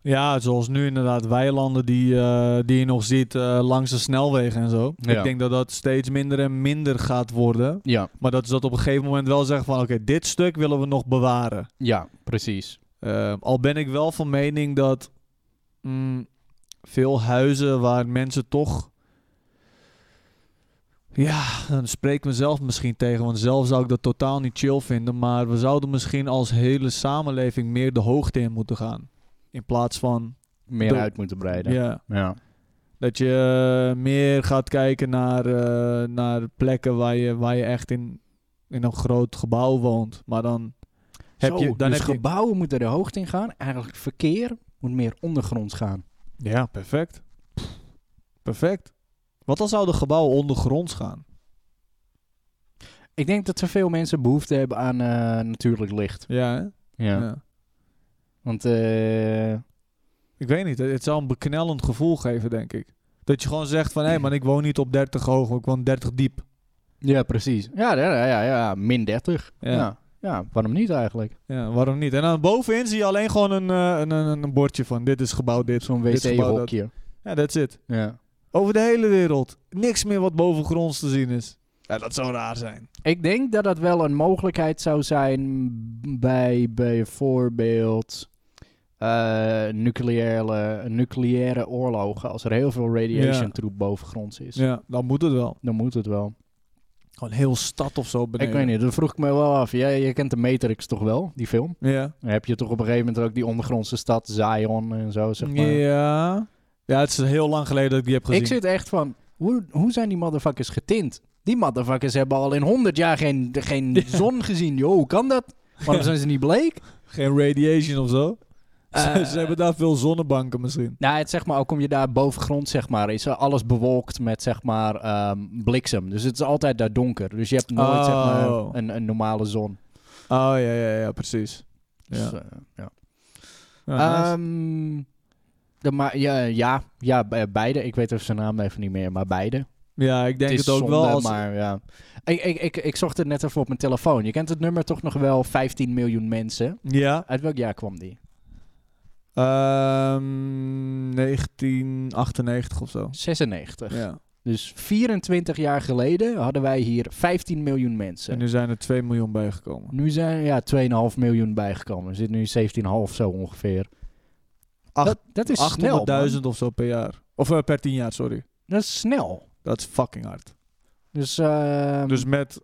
Speaker 2: Ja, zoals nu inderdaad weilanden die, eh, die je nog ziet eh, langs de snelwegen en zo.
Speaker 1: Ja.
Speaker 2: Ik denk dat dat steeds minder en minder gaat worden.
Speaker 1: Ja,
Speaker 2: Maar dat ze dat op een gegeven moment wel zeggen van... oké, dit stuk willen we nog bewaren.
Speaker 1: ja precies.
Speaker 2: Ehm, al ben ik wel van mening dat mm, veel huizen waar mensen toch... Ja, dan spreek ik mezelf misschien tegen, want zelf zou ik dat totaal niet chill vinden. Maar we zouden misschien als hele samenleving meer de hoogte in moeten gaan. In plaats van,
Speaker 1: Meer
Speaker 2: Doe-
Speaker 1: uit moeten breiden.
Speaker 2: ja,
Speaker 1: Ja.
Speaker 2: dat je eh, meer gaat kijken naar, eh, naar plekken waar je, waar je echt in, in een groot gebouw woont. Maar dan heb
Speaker 1: Zo,
Speaker 2: je... Dan
Speaker 1: dus
Speaker 2: heb je-
Speaker 1: gebouwen moeten de hoogte in gaan. Eigenlijk verkeer moet meer ondergronds gaan.
Speaker 2: Ja, perfect. Perfect. Wat als zouden gebouwen ondergronds gaan?
Speaker 1: Ik denk dat er veel mensen behoefte hebben aan eh, natuurlijk licht.
Speaker 2: Ja, hè?
Speaker 1: Ja. Want eh,
Speaker 2: Ik weet niet, het- het zou een beknellend gevoel geven, denk ik. Dat je gewoon zegt van, hé, man, ik woon niet op 30 hoog, ik woon 30 diep.
Speaker 1: Ja, precies. Ja, ja, ja, ja, min 30.
Speaker 2: Ja.
Speaker 1: Ja. Ja. waarom niet eigenlijk?
Speaker 2: Ja, waarom niet? En dan bovenin zie je alleen gewoon een, eh, een, een, een bordje van, dit is gebouw dit.
Speaker 1: Zo'n
Speaker 2: dit is gebouw dat.
Speaker 1: wc-hokje.
Speaker 2: Ja, that's it.
Speaker 1: Ja.
Speaker 2: Over de hele wereld. Niks meer wat bovengronds te zien is. Ja, dat zou raar zijn.
Speaker 1: Ik denk dat dat wel een mogelijkheid zou zijn bij bijvoorbeeld eh, nucleaire, nucleaire oorlogen. Als er heel veel radiation
Speaker 2: Ja.
Speaker 1: troep bovengronds is,
Speaker 2: Ja, dan moet het wel.
Speaker 1: dan moet het wel.
Speaker 2: Gewoon heel stad of zo beneden.
Speaker 1: Ik weet niet, dat vroeg ik me wel af. Jij, jij kent de Matrix toch wel, die film?
Speaker 2: Ja.
Speaker 1: Dan heb je toch op een gegeven moment ook die ondergrondse stad, Zion en zo, zeg maar.
Speaker 2: Ja. Ja, het is heel lang geleden dat ik die heb gezien.
Speaker 1: Ik zit echt van, hoe, hoe zijn die motherfuckers getint? Die motherfuckers hebben al in 100 jaar geen, geen
Speaker 2: Ja.
Speaker 1: zon gezien. Yo, hoe kan dat? Waarom zijn ze niet bleek?
Speaker 2: Geen radiation of zo.
Speaker 1: Eh.
Speaker 2: ze, ze hebben daar veel zonnebanken misschien.
Speaker 1: Nou, het, zeg maar, ook kom je daar bovengrond, zeg maar, is eh, alles bewolkt met, zeg maar, ehm, bliksem. Dus het is altijd daar donker. Dus je hebt nooit, zeg
Speaker 2: Oh.
Speaker 1: maar, een, een normale zon.
Speaker 2: Oh ja, ja, ja, precies.
Speaker 1: Dus,
Speaker 2: Ja.
Speaker 1: eh, ja.
Speaker 2: Ja, Oh, nice.
Speaker 1: Ehm, de ma- ja, ja, ja, be- beide. Ik weet even zijn naam even niet meer, maar beide.
Speaker 2: ja, ik denk het,
Speaker 1: het is
Speaker 2: ook
Speaker 1: zonde,
Speaker 2: wel. Als,
Speaker 1: maar ja. Ik, ik, ik, ik zocht het net even op mijn telefoon. Je kent het nummer toch nog wel 15 miljoen mensen.
Speaker 2: Ja,
Speaker 1: Uit welk jaar kwam die?
Speaker 2: Ehm, 1998 of zo.
Speaker 1: 96.
Speaker 2: Ja.
Speaker 1: Dus 24 jaar geleden hadden wij hier 15 miljoen
Speaker 2: En
Speaker 1: mensen.
Speaker 2: nu zijn er 2 miljoen bijgekomen.
Speaker 1: Nu zijn er ja, 2,5 miljoen bijgekomen. Er zit nu 17,5 zo ongeveer.
Speaker 2: Acht-
Speaker 1: dat, dat is snel. man.
Speaker 2: 800.000 of zo per jaar. Of eh, per 10 jaar, sorry.
Speaker 1: Dat is snel.
Speaker 2: Dat is fucking hard.
Speaker 1: Dus, ehm,
Speaker 2: Dus met.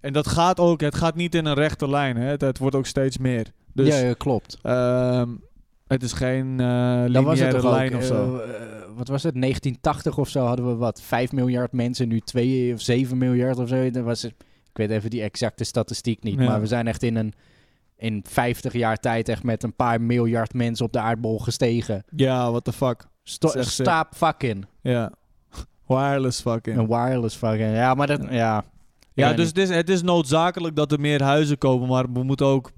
Speaker 2: En dat gaat ook. Het gaat niet in een rechte lijn. Hè? Het, het wordt ook steeds meer. Dus
Speaker 1: ja, ja, klopt.
Speaker 2: ehm, het is geen eh
Speaker 1: Dan was het
Speaker 2: lineaire
Speaker 1: toch ook,
Speaker 2: lijn of zo.
Speaker 1: eh, eh, wat was het? 1980 of zo hadden we wat? 5 miljard mensen, nu 2 of 7 miljard of zo. Dan was het, ik weet even die exacte statistiek niet.
Speaker 2: Ja.
Speaker 1: Maar we zijn echt in een in 50 jaar tijd echt met een paar miljard mensen op de aardbol gestegen.
Speaker 2: Ja, what the fuck.
Speaker 1: Sto
Speaker 2: Dat is echt sick.
Speaker 1: staap fucking.
Speaker 2: Ja. Wireless fucking.
Speaker 1: Een wireless fucking. Ja, maar dat. Ja.
Speaker 2: Ja,
Speaker 1: weet
Speaker 2: dus
Speaker 1: niet.
Speaker 2: het is, het is noodzakelijk dat er meer huizen komen. Maar we moeten ook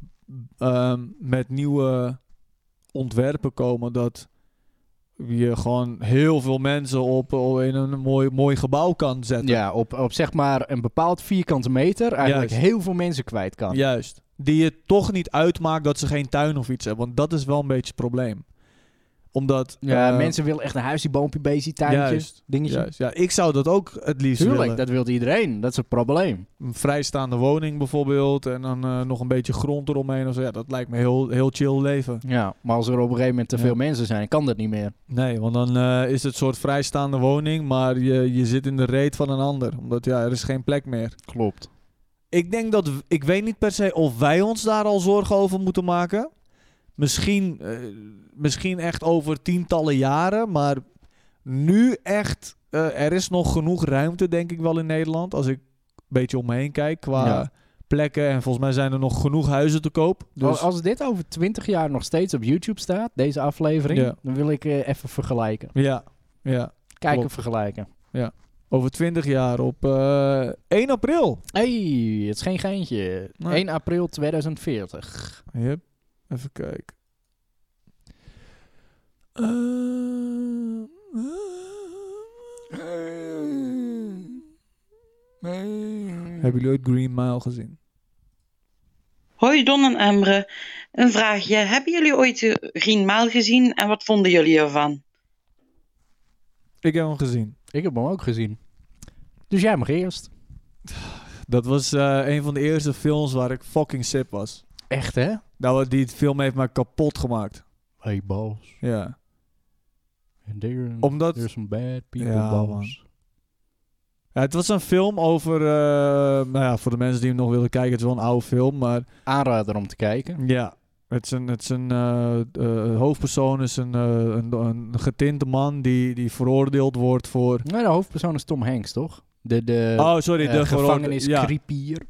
Speaker 2: ehm, met nieuwe ontwerpen komen. Dat je gewoon heel veel mensen op, op- in een mooi, mooi gebouw kan zetten.
Speaker 1: Ja, op, op zeg maar een bepaald vierkante meter eigenlijk
Speaker 2: Juist.
Speaker 1: heel veel mensen kwijt kan.
Speaker 2: Juist. Die je toch niet uitmaakt dat ze geen tuin of iets hebben. Want dat is wel een beetje het probleem. Omdat...
Speaker 1: Ja,
Speaker 2: eh,
Speaker 1: mensen willen echt een huisje, boompje, beestje, tuintje,
Speaker 2: Juist,
Speaker 1: dingetje.
Speaker 2: juist. Ja, ik zou dat ook het liefst
Speaker 1: Tuurlijk,
Speaker 2: willen.
Speaker 1: dat wil iedereen. Dat is een probleem.
Speaker 2: Een vrijstaande woning bijvoorbeeld. En dan eh, nog een beetje grond eromheen. Of zo. Ja, dat lijkt me heel, heel chill leven.
Speaker 1: Ja, maar als er op een gegeven moment te
Speaker 2: Ja.
Speaker 1: veel mensen zijn, kan dat niet meer.
Speaker 2: Nee, want dan eh, is het een soort vrijstaande woning. Maar je, je zit in de reet van een ander. Omdat ja, er is geen plek meer.
Speaker 1: Klopt.
Speaker 2: Ik denk dat... w- Ik weet niet per se of wij ons daar al zorgen over moeten maken. Misschien, eh, misschien echt over tientallen jaren. Maar nu echt... eh, er is nog genoeg ruimte, denk ik wel, in Nederland. Als ik een beetje om me heen kijk qua
Speaker 1: Ja.
Speaker 2: plekken. En volgens mij zijn er nog genoeg huizen te koop. Dus,
Speaker 1: Als dit over 20 jaar nog steeds op YouTube staat, deze aflevering,
Speaker 2: Ja.
Speaker 1: dan wil ik eh, even vergelijken.
Speaker 2: ja, ja.
Speaker 1: Kijken,
Speaker 2: Klopt.
Speaker 1: vergelijken.
Speaker 2: Over 20 jaar op eh 1 april.
Speaker 1: hey, het is geen geintje.
Speaker 2: Nee.
Speaker 1: 1 april 2040.
Speaker 2: Yep. Even kijken. Eh, Hebben jullie ooit Green Mile gezien?
Speaker 4: Hoi Don en Emre. Een vraagje. Hebben jullie ooit de Green Mile gezien en wat vonden jullie ervan?
Speaker 2: Ik heb hem gezien.
Speaker 1: Ik heb hem ook gezien. Dus jij mag eerst.
Speaker 2: Dat was eh, een van de eerste films waar ik fucking sip was.
Speaker 1: Echt, hè?
Speaker 2: Nou, die film heeft mij kapot gemaakt.
Speaker 1: Hey, boss.
Speaker 2: Ja.
Speaker 1: And there-
Speaker 2: Omdat
Speaker 1: there's some bad people,
Speaker 2: Ja,
Speaker 1: boss.
Speaker 2: ja, het was een film over. eh, nou ja, voor de mensen die hem nog willen kijken, het is wel een oude film. Maar
Speaker 1: Aanrader om te kijken.
Speaker 2: Ja, het is een, het is een eh, eh, hoofdpersoon is een, eh, een, een getinte man die, die veroordeeld wordt voor.
Speaker 1: Nou, de hoofdpersoon is Tom Hanks, toch? De, de,
Speaker 2: oh, sorry,
Speaker 1: eh,
Speaker 2: de veroorde-
Speaker 1: gevangenis
Speaker 2: Ja, oké,
Speaker 1: creepier.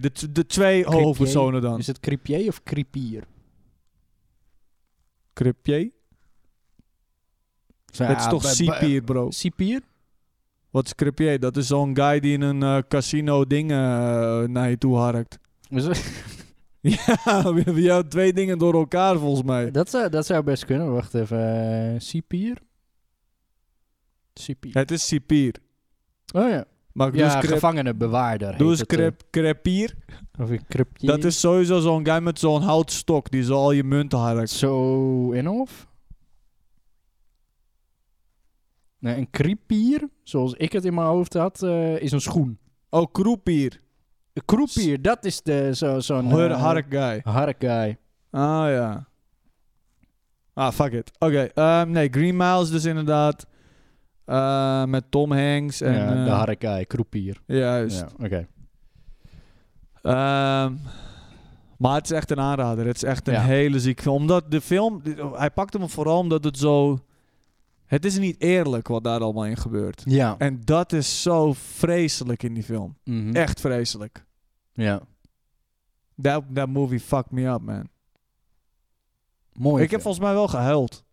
Speaker 2: de, t- de twee
Speaker 1: Croupier.
Speaker 2: hoofdpersonen dan.
Speaker 1: Is het creepier of creepier?
Speaker 2: Croupier? dat
Speaker 1: ah,
Speaker 2: is toch cipier, bro?
Speaker 1: Cipier?
Speaker 2: Wat is croupier? Dat is zo'n guy die in een eh, casino dingen eh, naar je toe harkt. Ja, we hebben jou twee dingen door elkaar volgens mij.
Speaker 1: dat, zou, dat zou best kunnen. Wacht even. eh, Cipier? Cipier.
Speaker 2: Het is cipier.
Speaker 1: Oh ja.
Speaker 2: Maar doe
Speaker 1: Ja,
Speaker 2: eens crep-
Speaker 1: gevangenenbewaarder. heet
Speaker 2: doe eens
Speaker 1: het, eh.
Speaker 2: crep- crepier.
Speaker 1: Of een crepier.
Speaker 2: Dat is sowieso zo'n guy met zo'n houtstok die zo al je munten harkt.
Speaker 1: Zo in of? Nee, een creepier, zoals ik het in mijn hoofd had, eh, is een schoen.
Speaker 2: Oh, kroepier.
Speaker 1: Een kroepier, dat is de- zo- zo'n...
Speaker 2: Hur
Speaker 1: eh,
Speaker 2: hark guy.
Speaker 1: hark eh, guy.
Speaker 2: Ah ja. Ah, fuck it. Oké, ehm, nee, Green Miles dus inderdaad. Eh, met Tom Hanks en...
Speaker 1: ja, de
Speaker 2: eh,
Speaker 1: hark guy, kroepier.
Speaker 2: Juist.
Speaker 1: Ja, oké.
Speaker 2: Ehm, maar het is echt een aanrader. Het is echt een
Speaker 1: Ja.
Speaker 2: hele ziek film. Omdat de film... Hij pakte me vooral omdat het zo... Het is niet eerlijk wat daar allemaal in gebeurt.
Speaker 1: Ja.
Speaker 2: En dat is zo vreselijk in die film.
Speaker 1: mhm.
Speaker 2: Echt vreselijk.
Speaker 1: Ja.
Speaker 2: That, that movie fucked me up, man.
Speaker 1: Mooi.
Speaker 2: Ik heb volgens mij wel gehuild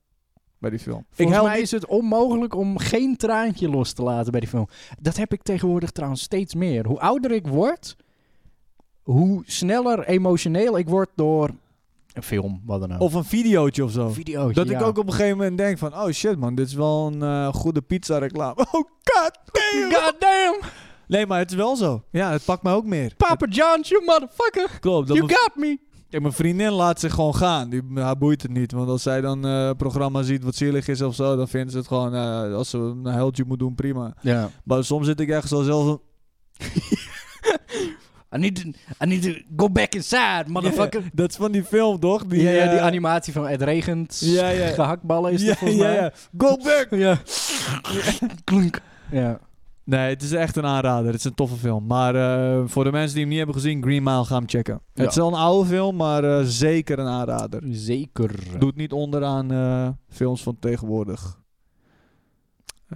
Speaker 2: bij die film. ik
Speaker 1: Volgens
Speaker 2: huil
Speaker 1: mij is het onmogelijk om geen traantje los te laten bij die film. Dat heb ik tegenwoordig trouwens steeds meer. Hoe ouder ik word, hoe sneller emotioneel ik word door een film, wat dan ook.
Speaker 2: Of een videootje of zo.
Speaker 1: een video.
Speaker 2: Dat ik ook op een gegeven moment denk van... Oh shit man, dit is wel een eh, goede pizza reclame. Oh god damn.
Speaker 1: Goddamn,
Speaker 2: Nee, maar het is wel zo. Ja, het pakt mij ook meer.
Speaker 1: Papa John's, you motherfucker,
Speaker 2: Het klopt. Dat
Speaker 1: you
Speaker 2: mijn,
Speaker 1: got me.
Speaker 2: Kijk, mijn vriendin laat zich gewoon gaan. Die, haar boeit het niet. Want als zij dan eh, een programma ziet wat zielig is of zo, dan vinden ze het gewoon, eh, als ze een heldje moet doen, prima.
Speaker 1: Ja.
Speaker 2: Maar soms zit ik echt zo zelf van,
Speaker 1: I need, to, I need to go back inside, motherfucker.
Speaker 2: dat is van die film toch? Die,
Speaker 1: ja, ja, die
Speaker 2: eh,
Speaker 1: animatie van het regent,
Speaker 2: Ja, ja.
Speaker 1: gehaktballen is
Speaker 2: ja,
Speaker 1: dat volgens
Speaker 2: ja,
Speaker 1: mij.
Speaker 2: ja. Go back!
Speaker 1: ja. Klunk. Ja.
Speaker 2: Nee, het is echt een aanrader. Het is een toffe film. Maar eh, voor de mensen die hem niet hebben gezien, Green Mile gaan hem checken.
Speaker 1: Ja.
Speaker 2: Het is wel een oude film, maar eh, zeker een aanrader.
Speaker 1: Zeker.
Speaker 2: Doet niet onder aan eh, films van tegenwoordig.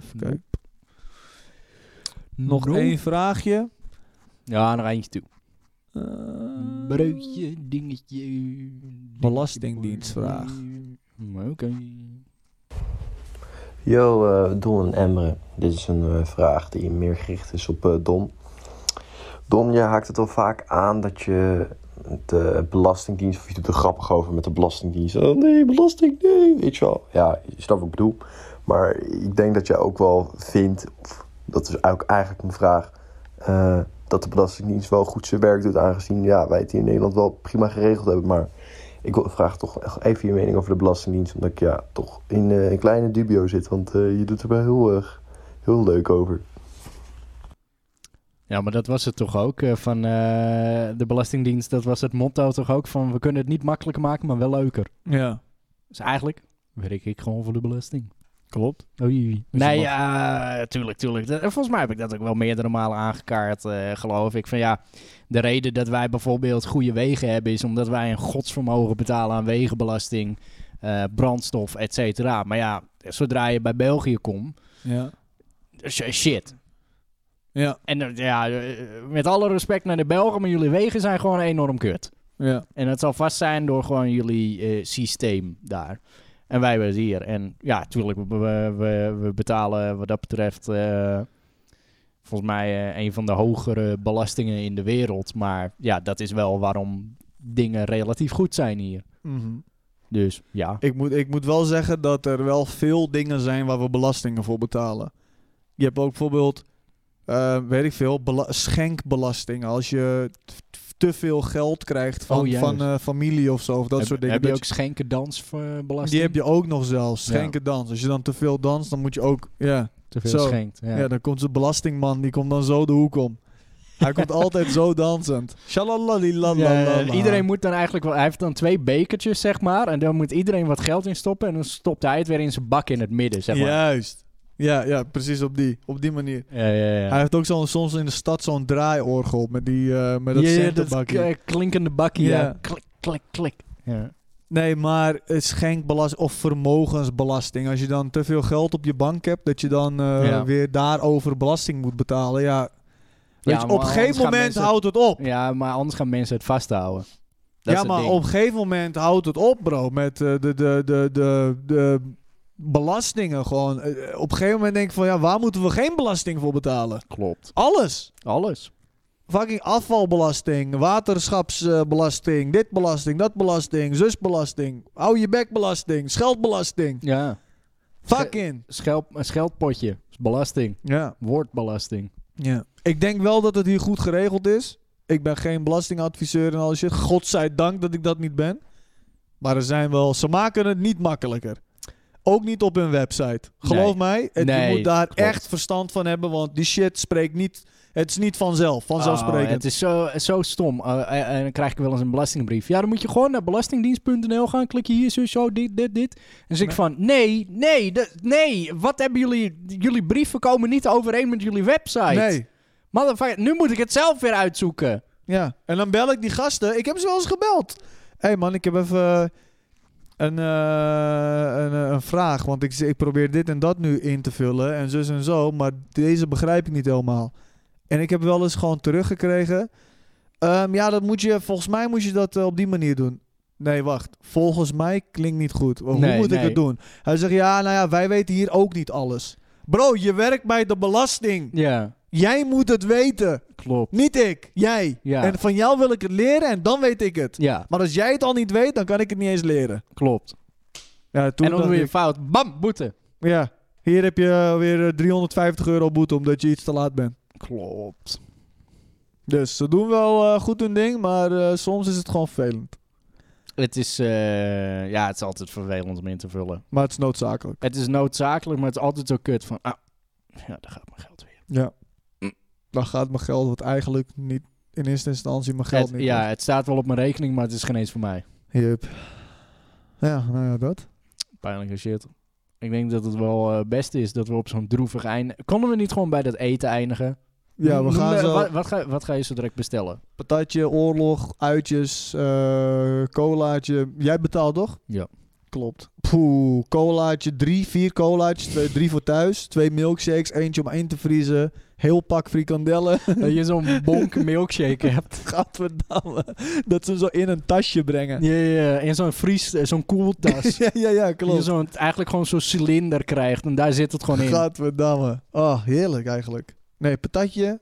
Speaker 2: Even
Speaker 1: Nope.
Speaker 2: kijken. Nog
Speaker 1: No.
Speaker 2: één vraagje.
Speaker 1: Ja, nog eentje toe.
Speaker 2: Eh,
Speaker 1: Breukje, dingetje. dingetje,
Speaker 2: Belastingdienstvraag.
Speaker 1: boy. Oké.
Speaker 3: Yo, eh, Don en Emre. Dit is een eh, vraag die meer gericht is op eh, Don. Don, je haakt het al vaak aan dat je de belastingdienst... of je doet er grappig over met de belastingdienst. Oh nee, belasting, nee, weet je wel. Ja, je snapt wat ik bedoel. Maar ik denk dat jij ook wel vindt... of dat is ook eigenlijk mijn vraag... eh, dat de belastingdienst wel goed zijn werk doet... aangezien ja, wij het hier in Nederland wel prima geregeld hebben, maar... Ik wil- vraag toch echt even je mening over de Belastingdienst. Omdat ik ja, toch in eh, een kleine dubio zit. Want eh, je doet er wel heel, erg heel leuk over.
Speaker 1: Ja, maar dat was het toch ook eh, van eh, de Belastingdienst. Dat was het motto toch ook van we kunnen het niet makkelijker maken, maar wel leuker.
Speaker 2: Ja,
Speaker 1: Dus eigenlijk werk ik gewoon voor de belasting.
Speaker 2: klopt.
Speaker 1: Oei. oei.
Speaker 2: Dus
Speaker 1: Oh, nee,
Speaker 2: je mag-
Speaker 1: ja, tuurlijk, tuurlijk. Dat- volgens mij heb ik dat ook wel meerdere malen aangekaart, eh, geloof ik. Van ja, de reden dat wij bijvoorbeeld goede wegen hebben... is omdat wij een godsvermogen betalen aan wegenbelasting, eh, brandstof, et cetera. Maar ja, zodra je bij België komt,
Speaker 2: Ja.
Speaker 1: is je shit.
Speaker 2: Ja,
Speaker 1: En eh, ja, eh, met alle respect naar de Belgen... maar jullie wegen zijn gewoon enorm kut.
Speaker 2: ja.
Speaker 1: En dat zal vast zijn door gewoon jullie eh, systeem daar. En wij hebben het hier. En ja, natuurlijk, we, we, we- we betalen wat dat betreft... eh, volgens mij eh, een van de hogere belastingen in de wereld. Maar ja, dat is wel waarom dingen relatief goed zijn hier.
Speaker 2: Mhm.
Speaker 1: Dus ja.
Speaker 2: Ik moet, ik moet wel zeggen dat er wel veel dingen zijn waar we belastingen voor betalen. Je hebt ook bijvoorbeeld, eh, weet ik veel, bela- schenkbelastingen. Als je t- t- te veel geld krijgt van,
Speaker 1: Oh, juist.
Speaker 2: van eh, familie of zo, of dat
Speaker 1: heb,
Speaker 2: soort dingen.
Speaker 1: heb je
Speaker 2: dat
Speaker 1: ook eh, schenkendansbelasting?
Speaker 2: die heb je ook nog zelfs,
Speaker 1: Ja.
Speaker 2: schenken dans. Als je dan te veel danst, dan moet je ook, ja,
Speaker 1: Te veel
Speaker 2: Zo.
Speaker 1: schenkt. Ja.
Speaker 2: ja. dan komt zo'n belastingman, die komt dan zo de hoek om. Hij komt altijd zo dansend.
Speaker 1: Ja, eh,
Speaker 2: Shalalalilalalala.
Speaker 1: iedereen moet dan eigenlijk wel. Hij heeft dan twee bekertjes, zeg maar. En dan moet iedereen wat geld in stoppen. En dan stopt hij het weer in zijn bak in het midden, zeg maar.
Speaker 2: Juist. Ja, ja, precies op die, op die manier.
Speaker 1: Ja, ja, ja.
Speaker 2: Hij heeft ook zo'n- soms in de stad zo'n draaiorgel met, die, eh, met dat
Speaker 1: Ja, ja,
Speaker 2: centenbakje.
Speaker 1: k- eh, klinkende bakkie.
Speaker 2: Ja.
Speaker 1: Ja. Klik, klik, klik. Ja.
Speaker 2: nee, maar eh, schenkbelasting of vermogensbelasting. Als je dan te veel geld op je bank hebt, dat je dan eh,
Speaker 1: Ja.
Speaker 2: weer daarover belasting moet betalen. Ja, Weet
Speaker 1: Ja,
Speaker 2: je,
Speaker 1: maar
Speaker 2: op een
Speaker 1: anders
Speaker 2: gegeven
Speaker 1: gaan
Speaker 2: moment
Speaker 1: mensen-
Speaker 2: houdt het op.
Speaker 1: ja, maar anders gaan mensen het vasthouden. Dat
Speaker 2: ja,
Speaker 1: is het
Speaker 2: maar
Speaker 1: ding.
Speaker 2: op een gegeven moment houdt het op, bro. Met eh, de, de, de, de, de belastingen gewoon. Eh, eh, op een gegeven moment denk ik van, ja, waar moeten we geen belasting voor betalen?
Speaker 1: Klopt.
Speaker 2: Alles.
Speaker 1: Alles.
Speaker 2: Fucking afvalbelasting, waterschapsbelasting, dit belasting, dat belasting, zusbelasting, hou je bekbelasting, scheldbelasting.
Speaker 1: Ja.
Speaker 2: Fucking.
Speaker 1: Scheld, een scheldpotje. Is Belasting.
Speaker 2: Ja.
Speaker 1: Woordbelasting.
Speaker 2: ja. Ik denk wel dat het hier goed geregeld is. Ik ben geen belastingadviseur en al shit. Godzijdank dat ik dat niet ben. Maar er zijn wel, ze maken het niet makkelijker. Ook niet op hun website. Geloof
Speaker 1: Nee.
Speaker 2: mij, het,
Speaker 1: Nee,
Speaker 2: je moet daar
Speaker 1: klopt.
Speaker 2: echt verstand van hebben, want die shit spreekt niet. Het is niet vanzelf,
Speaker 1: Oh, het
Speaker 2: vanzelfsprekend.
Speaker 1: is zo, zo stom. Eh, eh, en dan krijg ik wel eens een belastingbrief. Ja, dan moet je gewoon naar belastingdienst.nl gaan. Klik je hier, zo, zo, dit, dit, dit. En zeg ik van, nee, nee, dat- nee. Wat hebben jullie... Jullie brieven komen niet overeen met jullie website.
Speaker 2: nee.
Speaker 1: Motherfucker, nu moet ik het zelf weer uitzoeken.
Speaker 2: Ja, en dan bel ik die gasten. Ik heb ze wel eens gebeld. Hé hey man, ik heb even eh, een, eh, een, eh, een vraag. Want ik, z- ik probeer dit en dat nu in te vullen. En zus en zo. Maar deze begrijp ik niet helemaal. En ik heb wel eens gewoon teruggekregen. Ehm, ja, dat moet je, volgens mij moet je dat eh, op die manier doen. Nee, wacht. Volgens mij klinkt niet goed. Hoe
Speaker 1: Nee,
Speaker 2: moet
Speaker 1: nee.
Speaker 2: ik het doen? Hij zegt, ja, nou ja, wij weten hier ook niet alles. Bro, je werkt bij de belasting.
Speaker 1: Ja,
Speaker 2: Jij moet het weten.
Speaker 1: klopt.
Speaker 2: Niet ik, jij.
Speaker 1: Ja.
Speaker 2: En van jou wil ik het leren en dan weet ik het.
Speaker 1: Ja,
Speaker 2: Maar als jij het al niet weet, dan kan ik het niet eens leren.
Speaker 1: klopt.
Speaker 2: Ja, toen
Speaker 1: en dan
Speaker 2: dacht
Speaker 1: doe je
Speaker 2: ik,
Speaker 1: fout. Bam, boete.
Speaker 2: ja, hier heb je weer eh, 350 euro boete omdat je iets te laat bent.
Speaker 1: Klopt.
Speaker 2: Dus ze doen wel eh, goed hun ding, maar eh, soms is het gewoon vervelend.
Speaker 1: Het is, eh, ja, het is altijd vervelend om in te vullen.
Speaker 2: Maar het is noodzakelijk.
Speaker 1: Het is noodzakelijk, maar het is altijd zo kut van... Ah, ja, daar gaat mijn geld weer.
Speaker 2: Ja.
Speaker 1: Hm.
Speaker 2: Dan gaat mijn geld, wat eigenlijk niet in eerste instantie mijn geld
Speaker 1: Het-
Speaker 2: niet
Speaker 1: ja, het staat wel op mijn rekening, maar het is geen eens voor mij.
Speaker 2: is. Yep. Ja, nou ja, dat.
Speaker 1: Pijnlijke shit. Ik denk dat het wel eh, het beste is dat we op zo'n droevig einde... Konden we niet gewoon bij dat eten eindigen?
Speaker 2: Ja, we
Speaker 1: Noem-
Speaker 2: gaan
Speaker 1: eh,
Speaker 2: zo...
Speaker 1: Wat, wat, ga, wat ga je zo direct bestellen?
Speaker 2: Patatje, oorlog, uitjes, eh colaatje. Jij betaalt toch?
Speaker 1: Ja.
Speaker 2: Klopt. Poeh, colaatje, drie, vier colaatjes, twee, drie voor thuis, twee milkshakes, eentje om in te vriezen, heel pak frikandellen.
Speaker 1: Dat je zo'n bonk milkshake hebt.
Speaker 2: Gadverdamme, dat ze hem zo in een tasje brengen.
Speaker 1: Ja, ja, ja. En zo'n vries, eh, zo'n koeltas.
Speaker 2: Ja, ja, ja,
Speaker 1: Dat je
Speaker 2: klopt.
Speaker 1: zo'n, eigenlijk gewoon zo'n cilinder krijgt en daar zit het gewoon in.
Speaker 2: Gadverdamme. Oh, heerlijk eigenlijk. Nee, patatje.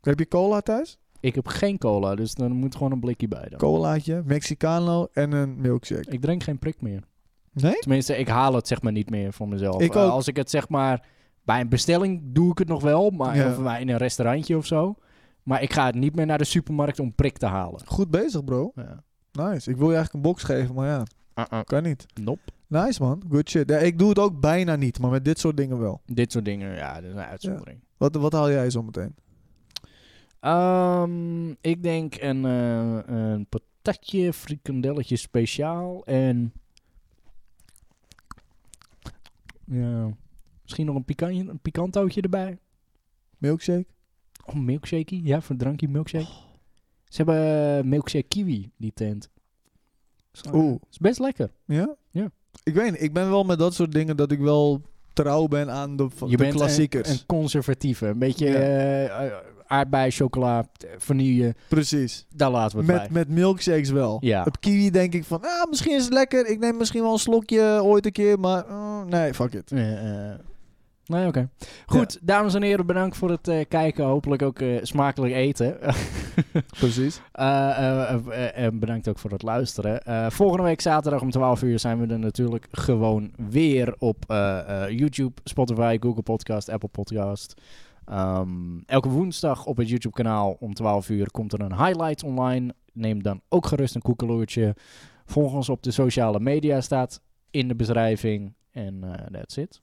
Speaker 2: Heb je cola thuis?
Speaker 1: Ik heb geen cola, dus dan moet gewoon een blikje bij dan.
Speaker 2: Colaatje, Mexicano en een milkshake.
Speaker 1: Ik drink geen prik meer.
Speaker 2: Nee?
Speaker 1: Tenminste, ik haal het zeg maar niet meer voor mezelf.
Speaker 2: Ik
Speaker 1: Eh,
Speaker 2: ook.
Speaker 1: als ik het zeg maar bij een bestelling doe ik het nog wel, maar
Speaker 2: Ja.
Speaker 1: of bij in een restaurantje of zo. Maar ik ga niet meer naar de supermarkt om prik te halen.
Speaker 2: Goed bezig, bro.
Speaker 1: Ja.
Speaker 2: Nice. Ik wil je eigenlijk een box geven, maar ja, kan niet.
Speaker 1: Nope.
Speaker 2: Nice man, good shit. Ja, ik doe het ook bijna niet, maar met dit soort dingen wel.
Speaker 1: Dit soort dingen, ja, dat is een uitzondering.
Speaker 2: Wat, wat haal jij zo meteen?
Speaker 1: Ehm, ik denk een, eh, een patatje, frikandelletje speciaal en... Ja, misschien nog een, pikantje, een pikantootje erbij.
Speaker 2: Milkshake?
Speaker 1: Oh, milkshakey? Ja, voor een drankje milkshake.
Speaker 2: Oh.
Speaker 1: Ze hebben eh, milkshake kiwi, die tent. Is, eh,
Speaker 2: Oeh.
Speaker 1: Is best lekker.
Speaker 2: Ja?
Speaker 1: Ja.
Speaker 2: Ik weet niet, ik ben wel met dat soort dingen dat ik wel trouw ben aan de, van
Speaker 1: Je
Speaker 2: de
Speaker 1: bent
Speaker 2: klassiekers.
Speaker 1: een, een conservatieve. Een beetje
Speaker 2: Ja.
Speaker 1: eh, eh, aardbei, chocola, t- vanille.
Speaker 2: Precies.
Speaker 1: Daar laten we het
Speaker 2: Met,
Speaker 1: bij.
Speaker 2: met milkshakes wel.
Speaker 1: Ja.
Speaker 2: Op kiwi denk ik van, ah, misschien is het lekker. Ik neem misschien wel een slokje ooit een keer, maar mm, nee, fuck it.
Speaker 1: Eh, eh. Nee, oké. Goed, dames en heren, bedankt voor het eh, kijken. Hopelijk ook eh, smakelijk eten.
Speaker 2: Precies.
Speaker 1: Eh, eh, eh, eh, en bedankt ook voor het luisteren. Eh, volgende week zaterdag om 12 uur zijn we er natuurlijk gewoon weer op eh, eh, YouTube, Spotify, Google Podcast, Apple Podcast. Ehm, elke woensdag op het YouTube kanaal om 12 uur komt er een highlight online. Neem dan ook gerust een koekeloertje. Volg ons op de sociale media, staat in de beschrijving. En eh, that's it.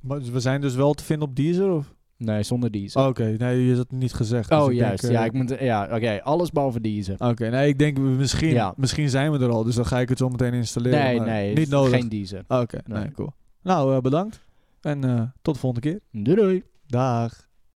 Speaker 2: Maar we zijn dus wel te vinden op Deezer? Of?
Speaker 1: Nee, zonder die.
Speaker 2: Oké, nee, je hebt het niet gezegd. dus
Speaker 1: oh,
Speaker 2: ik denk,
Speaker 1: juist.
Speaker 2: eh,
Speaker 1: ja, ik moet, ja oké. alles behalve deze.
Speaker 2: Oké, nee, ik denk we- misschien,
Speaker 1: Ja.
Speaker 2: misschien zijn we er al, dus dan ga ik het zo meteen installeren.
Speaker 1: nee,
Speaker 2: maar
Speaker 1: nee.
Speaker 2: niet nodig.
Speaker 1: Geen deze.
Speaker 2: Oké,
Speaker 1: Nee.
Speaker 2: Nou, nee, cool. Nou, eh, bedankt en eh, tot de volgende keer.
Speaker 1: Doei doei.
Speaker 2: Dag.